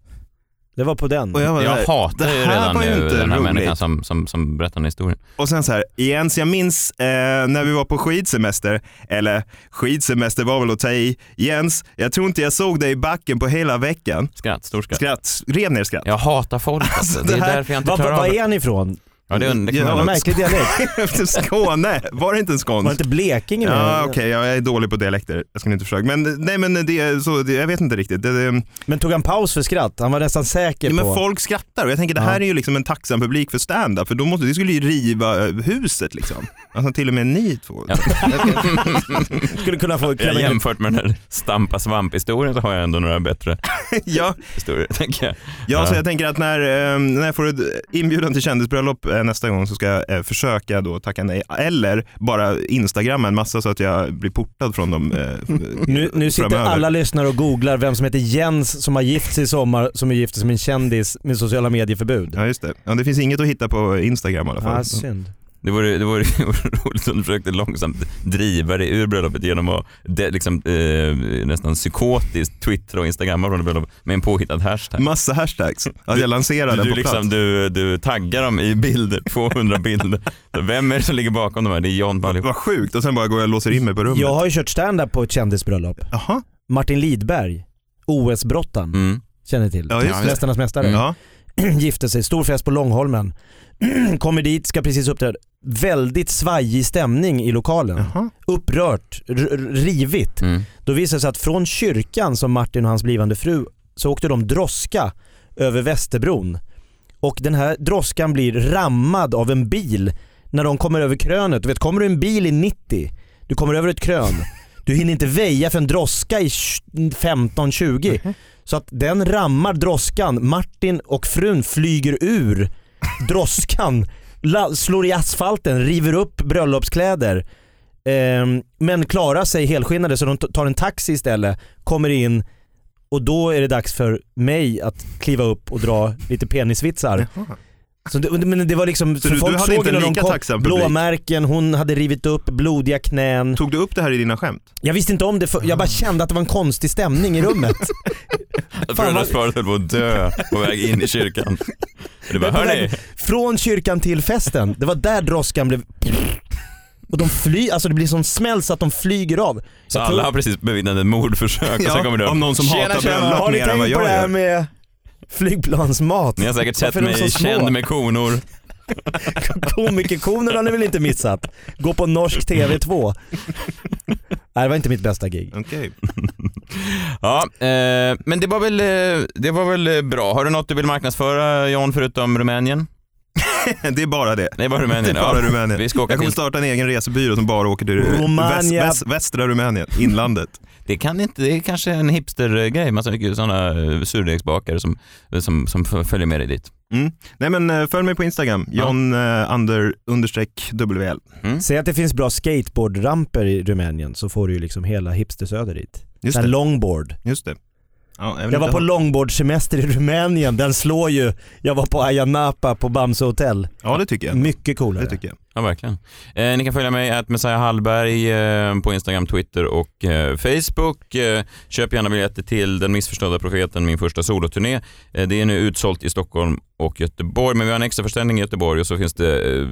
S2: Det var på den.
S3: Och jag var så
S1: Jag
S3: här,
S1: hatar
S3: det
S1: ju
S3: här
S1: redan
S3: var ju
S1: nu
S3: inte
S1: den här
S3: roligt.
S1: människan som, som, som berättar den här historien.
S3: Och sen så här, Jens jag minns eh, när vi var på skidsemester, eller skidsemester var väl att ta i. Jens, jag tror inte jag såg dig i backen på hela veckan.
S1: Skratt, stor skratt.
S3: Skratt, rev ner skratt.
S1: Jag hatar folk alltså. det är
S3: det här-
S1: därför jag inte
S2: Vad
S1: klarar av
S2: var
S1: det.
S2: är han ifrån?
S1: Ja, det, det
S3: Ja,
S1: kommer
S2: Vad
S1: jag ihåg.
S2: märklig dialekt.
S3: Efter Skåne, var det inte en
S2: Var det
S3: skånsk?
S2: inte Blekinge med?
S3: Ja, okej, ja, jag är dålig på dialekter. Jag skulle inte försöka. Men nej, men det är så, det, jag vet inte riktigt. Det, det,
S2: Men tog han paus för skratt? Han var nästan säker
S3: ja,
S2: på...
S3: men folk skrattar och jag tänker det här är ju liksom en tacksam publik för stand-up för då måste, det skulle ju riva eh, huset liksom. Alltså till och med ni två.
S2: skulle kunna få
S1: Jag
S2: klämma in
S1: jämfört med den här stampa svamp-historien så har jag ändå några bättre
S3: ja,
S1: historier, tänker jag.
S3: Ja, så jag tänker att när, eh, när jag får ett inbjudan till kändisbröllop eh, nästa gång så ska jag eh, försöka då tacka nej. Eller bara instagramma en massa så att jag blir portad från dem eh,
S2: Nu, nu sitter
S3: framöver.
S2: alla lyssnare och googlar vem som heter Jens som har gift sig i sommar, som är gift som en kändis med sociala medieförbud.
S3: Ja, just det. Ja, det finns inget att hitta på Instagram i alla fall.
S2: Ah, synd.
S1: Det vore, det vore det vore roligt om du försökte långsamt driva dig ur bröllopet genom att de, liksom, eh, nästan psykotiskt twittra och instagramma från bröllopet med en påhittad hashtag.
S3: Massa hashtags. Ja, jag lanserar
S1: Du,
S3: den
S1: du,
S3: på
S1: liksom,
S3: plats.
S1: du, du taggar dem i bilder, 200 bilder. Vem är det som ligger bakom de här? Det är John på allihop.
S3: Vad sjukt. Och sen bara går jag och låser in mig på rummet.
S2: Jag har ju kört stand-up på ett kändisbröllop.
S3: Jaha.
S2: Martin Lidberg, OS-brottaren,
S1: Mm.
S2: känner ni till.
S3: Ja, just det.
S2: Mästarnas mästare.
S3: Ja.
S2: Gifte sig, stor fest på Långholmen. Kommer dit, ska precis uppträda. Väldigt svajig stämning i lokalen.
S3: Jaha.
S2: Upprört, r- r- rivigt.
S1: Mm.
S2: Då visade det sig att från kyrkan som Martin och hans blivande fru så åkte de droska över Västerbron. Och den här droskan blir rammad av en bil när de kommer över krönet. Du vet, kommer du en bil i 90, du kommer över ett krön, du hinner inte väja för en droska i 15-20. Så att den rammar droskan, Martin och frun flyger ur droskan, la- slår i asfalten, river upp bröllopskläder. Ehm, men klarar sig helskinnade så de t- tar en taxi istället, kommer in och då är det dags för mig att kliva upp och dra lite penisvitsar. Så det, men det var liksom,
S3: Så du- du hade inte
S2: när de
S3: lika
S2: kom,
S3: tacksam publik?
S2: blåmärken, hon hade rivit upp, blodiga knän.
S3: Tog du upp det här i dina skämt?
S2: Jag visste inte om det, för, jag bara kände att det var en konstig stämning i rummet.
S1: Jag
S2: Fan, vad-
S1: bröllopsparet höll på att dö på väg in i kyrkan. Det bara,
S2: På
S1: hörni,
S2: väg Från kyrkan till festen, det var där droskan blev Och de flyr, alltså det blir sån smäll så att de flyger av.
S1: Så alla har precis bevittnat ett mordförsök och sen kommer du upp.
S3: Om någon som hatar bröllop
S2: Har ni
S3: mer än vad
S2: tänkt
S3: jag
S2: på det här
S3: gör.
S2: med flygplansmat?
S1: Ni har säkert sett
S2: Varför är de så
S1: mig
S2: små?
S1: känd med konor.
S2: Komikerkonen har ni väl inte missat? Gå på norsk TV2. Nej det var inte mitt bästa gig.
S3: Okej.
S1: Ja, eh, men det var, väl, eh, det var väl eh, bra. Har du något du vill marknadsföra John förutom Rumänien?
S3: Det är bara det.
S1: Det är bara Rumänien.
S3: Det är bara
S1: ja.
S3: Rumänien.
S1: Vi ska åka
S3: Jag kommer
S1: till...
S3: starta en egen resebyrå som bara åker till väst,
S2: Romania.
S3: väst, västra Rumänien, inlandet.
S1: Det, kan inte, det är kanske en hipstergrej, massa mycket sådana eh, surdegsbakare som, som, som följer med dig dit.
S3: Mm. Nej men eh, följ mig på Instagram, John eh, under, understreck WL.
S2: Säg att det finns bra skateboardramper i Rumänien så får du ju liksom hela hipstersöder dit.
S3: Just
S2: Den
S3: det.
S2: longboard.
S3: Just det. Ja, vill
S2: Jag var
S3: inte
S2: på
S3: ha-
S2: longboardsemester i Rumänien, den slår ju. Jag var på Ayia Napa på Bamse hotell.
S3: Ja det tycker jag.
S2: Mycket
S3: Det
S2: coolare.
S3: tycker jag.
S1: Ja, verkligen. Eh, ni kan följa mig, att Messiah Hallberg, eh, på Instagram, Twitter och eh, Facebook. Eh, köp gärna biljetter till Den missförstådda profeten, min första soloturné. Eh, det är nu utsålt i Stockholm och Göteborg, men vi har en extra förställning i Göteborg och så finns det eh,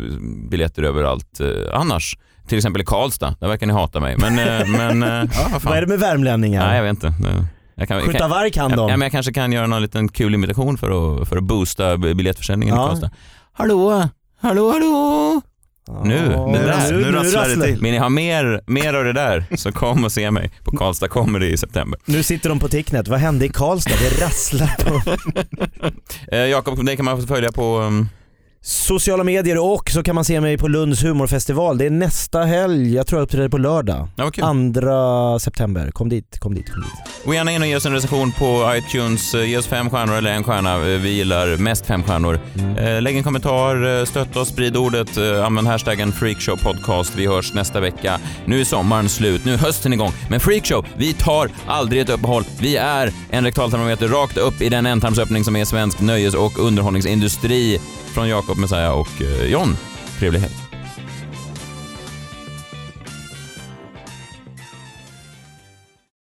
S1: biljetter överallt eh, annars. Till exempel i Karlstad, där verkar ni hata mig. Men, eh, men eh, ja, vad fan.
S2: Vad är det med
S1: Nej, jag
S2: värmlänningar?
S1: vet inte. Eh, Jag kan, jag
S2: Skjuta
S1: kan,
S2: varg kan
S1: ja, men
S2: de.
S1: jag kanske kan göra någon liten kul imitation för att, för att boosta biljettförsäljningen
S2: Ja.
S1: i Karlstad. Hallå, hallå, hallå! Nu,
S2: Ja,
S1: det där.
S3: Nu rasslar det till.
S1: Vill ni ha mer, mer av det där så kom och se mig på Karlstad Comedy i september.
S2: Nu sitter de på Ticknet, vad hände i Karlstad? Det rasslar på
S1: Eh, Jakob, dig kan man följa på... Um,
S2: sociala medier och så kan man se mig på Lunds humorfestival. Det är nästa helg, jag tror jag uppträder på lördag.
S1: ja, vad kul.
S2: 2 september, kom dit, kom dit, kom dit.
S1: Gå gärna in och ge oss en recension på iTunes. Eh, Ge oss fem stjärnor eller en stjärna. Eh, Vi gillar mest fem stjärnor. Eh, Lägg en kommentar, eh, stötta oss, sprid ordet. eh, Använd hashtaggen freakshowpodcast. Vi hörs nästa vecka. Nu är sommaren slut, nu är hösten igång. Men freakshow, vi tar aldrig ett uppehåll. Vi är en rektaltermometer rakt upp i den ändtarmsöppning som är svensk nöjes och underhållningsindustri. Från Jakob, Messiah och eh, John. Trevlig helg.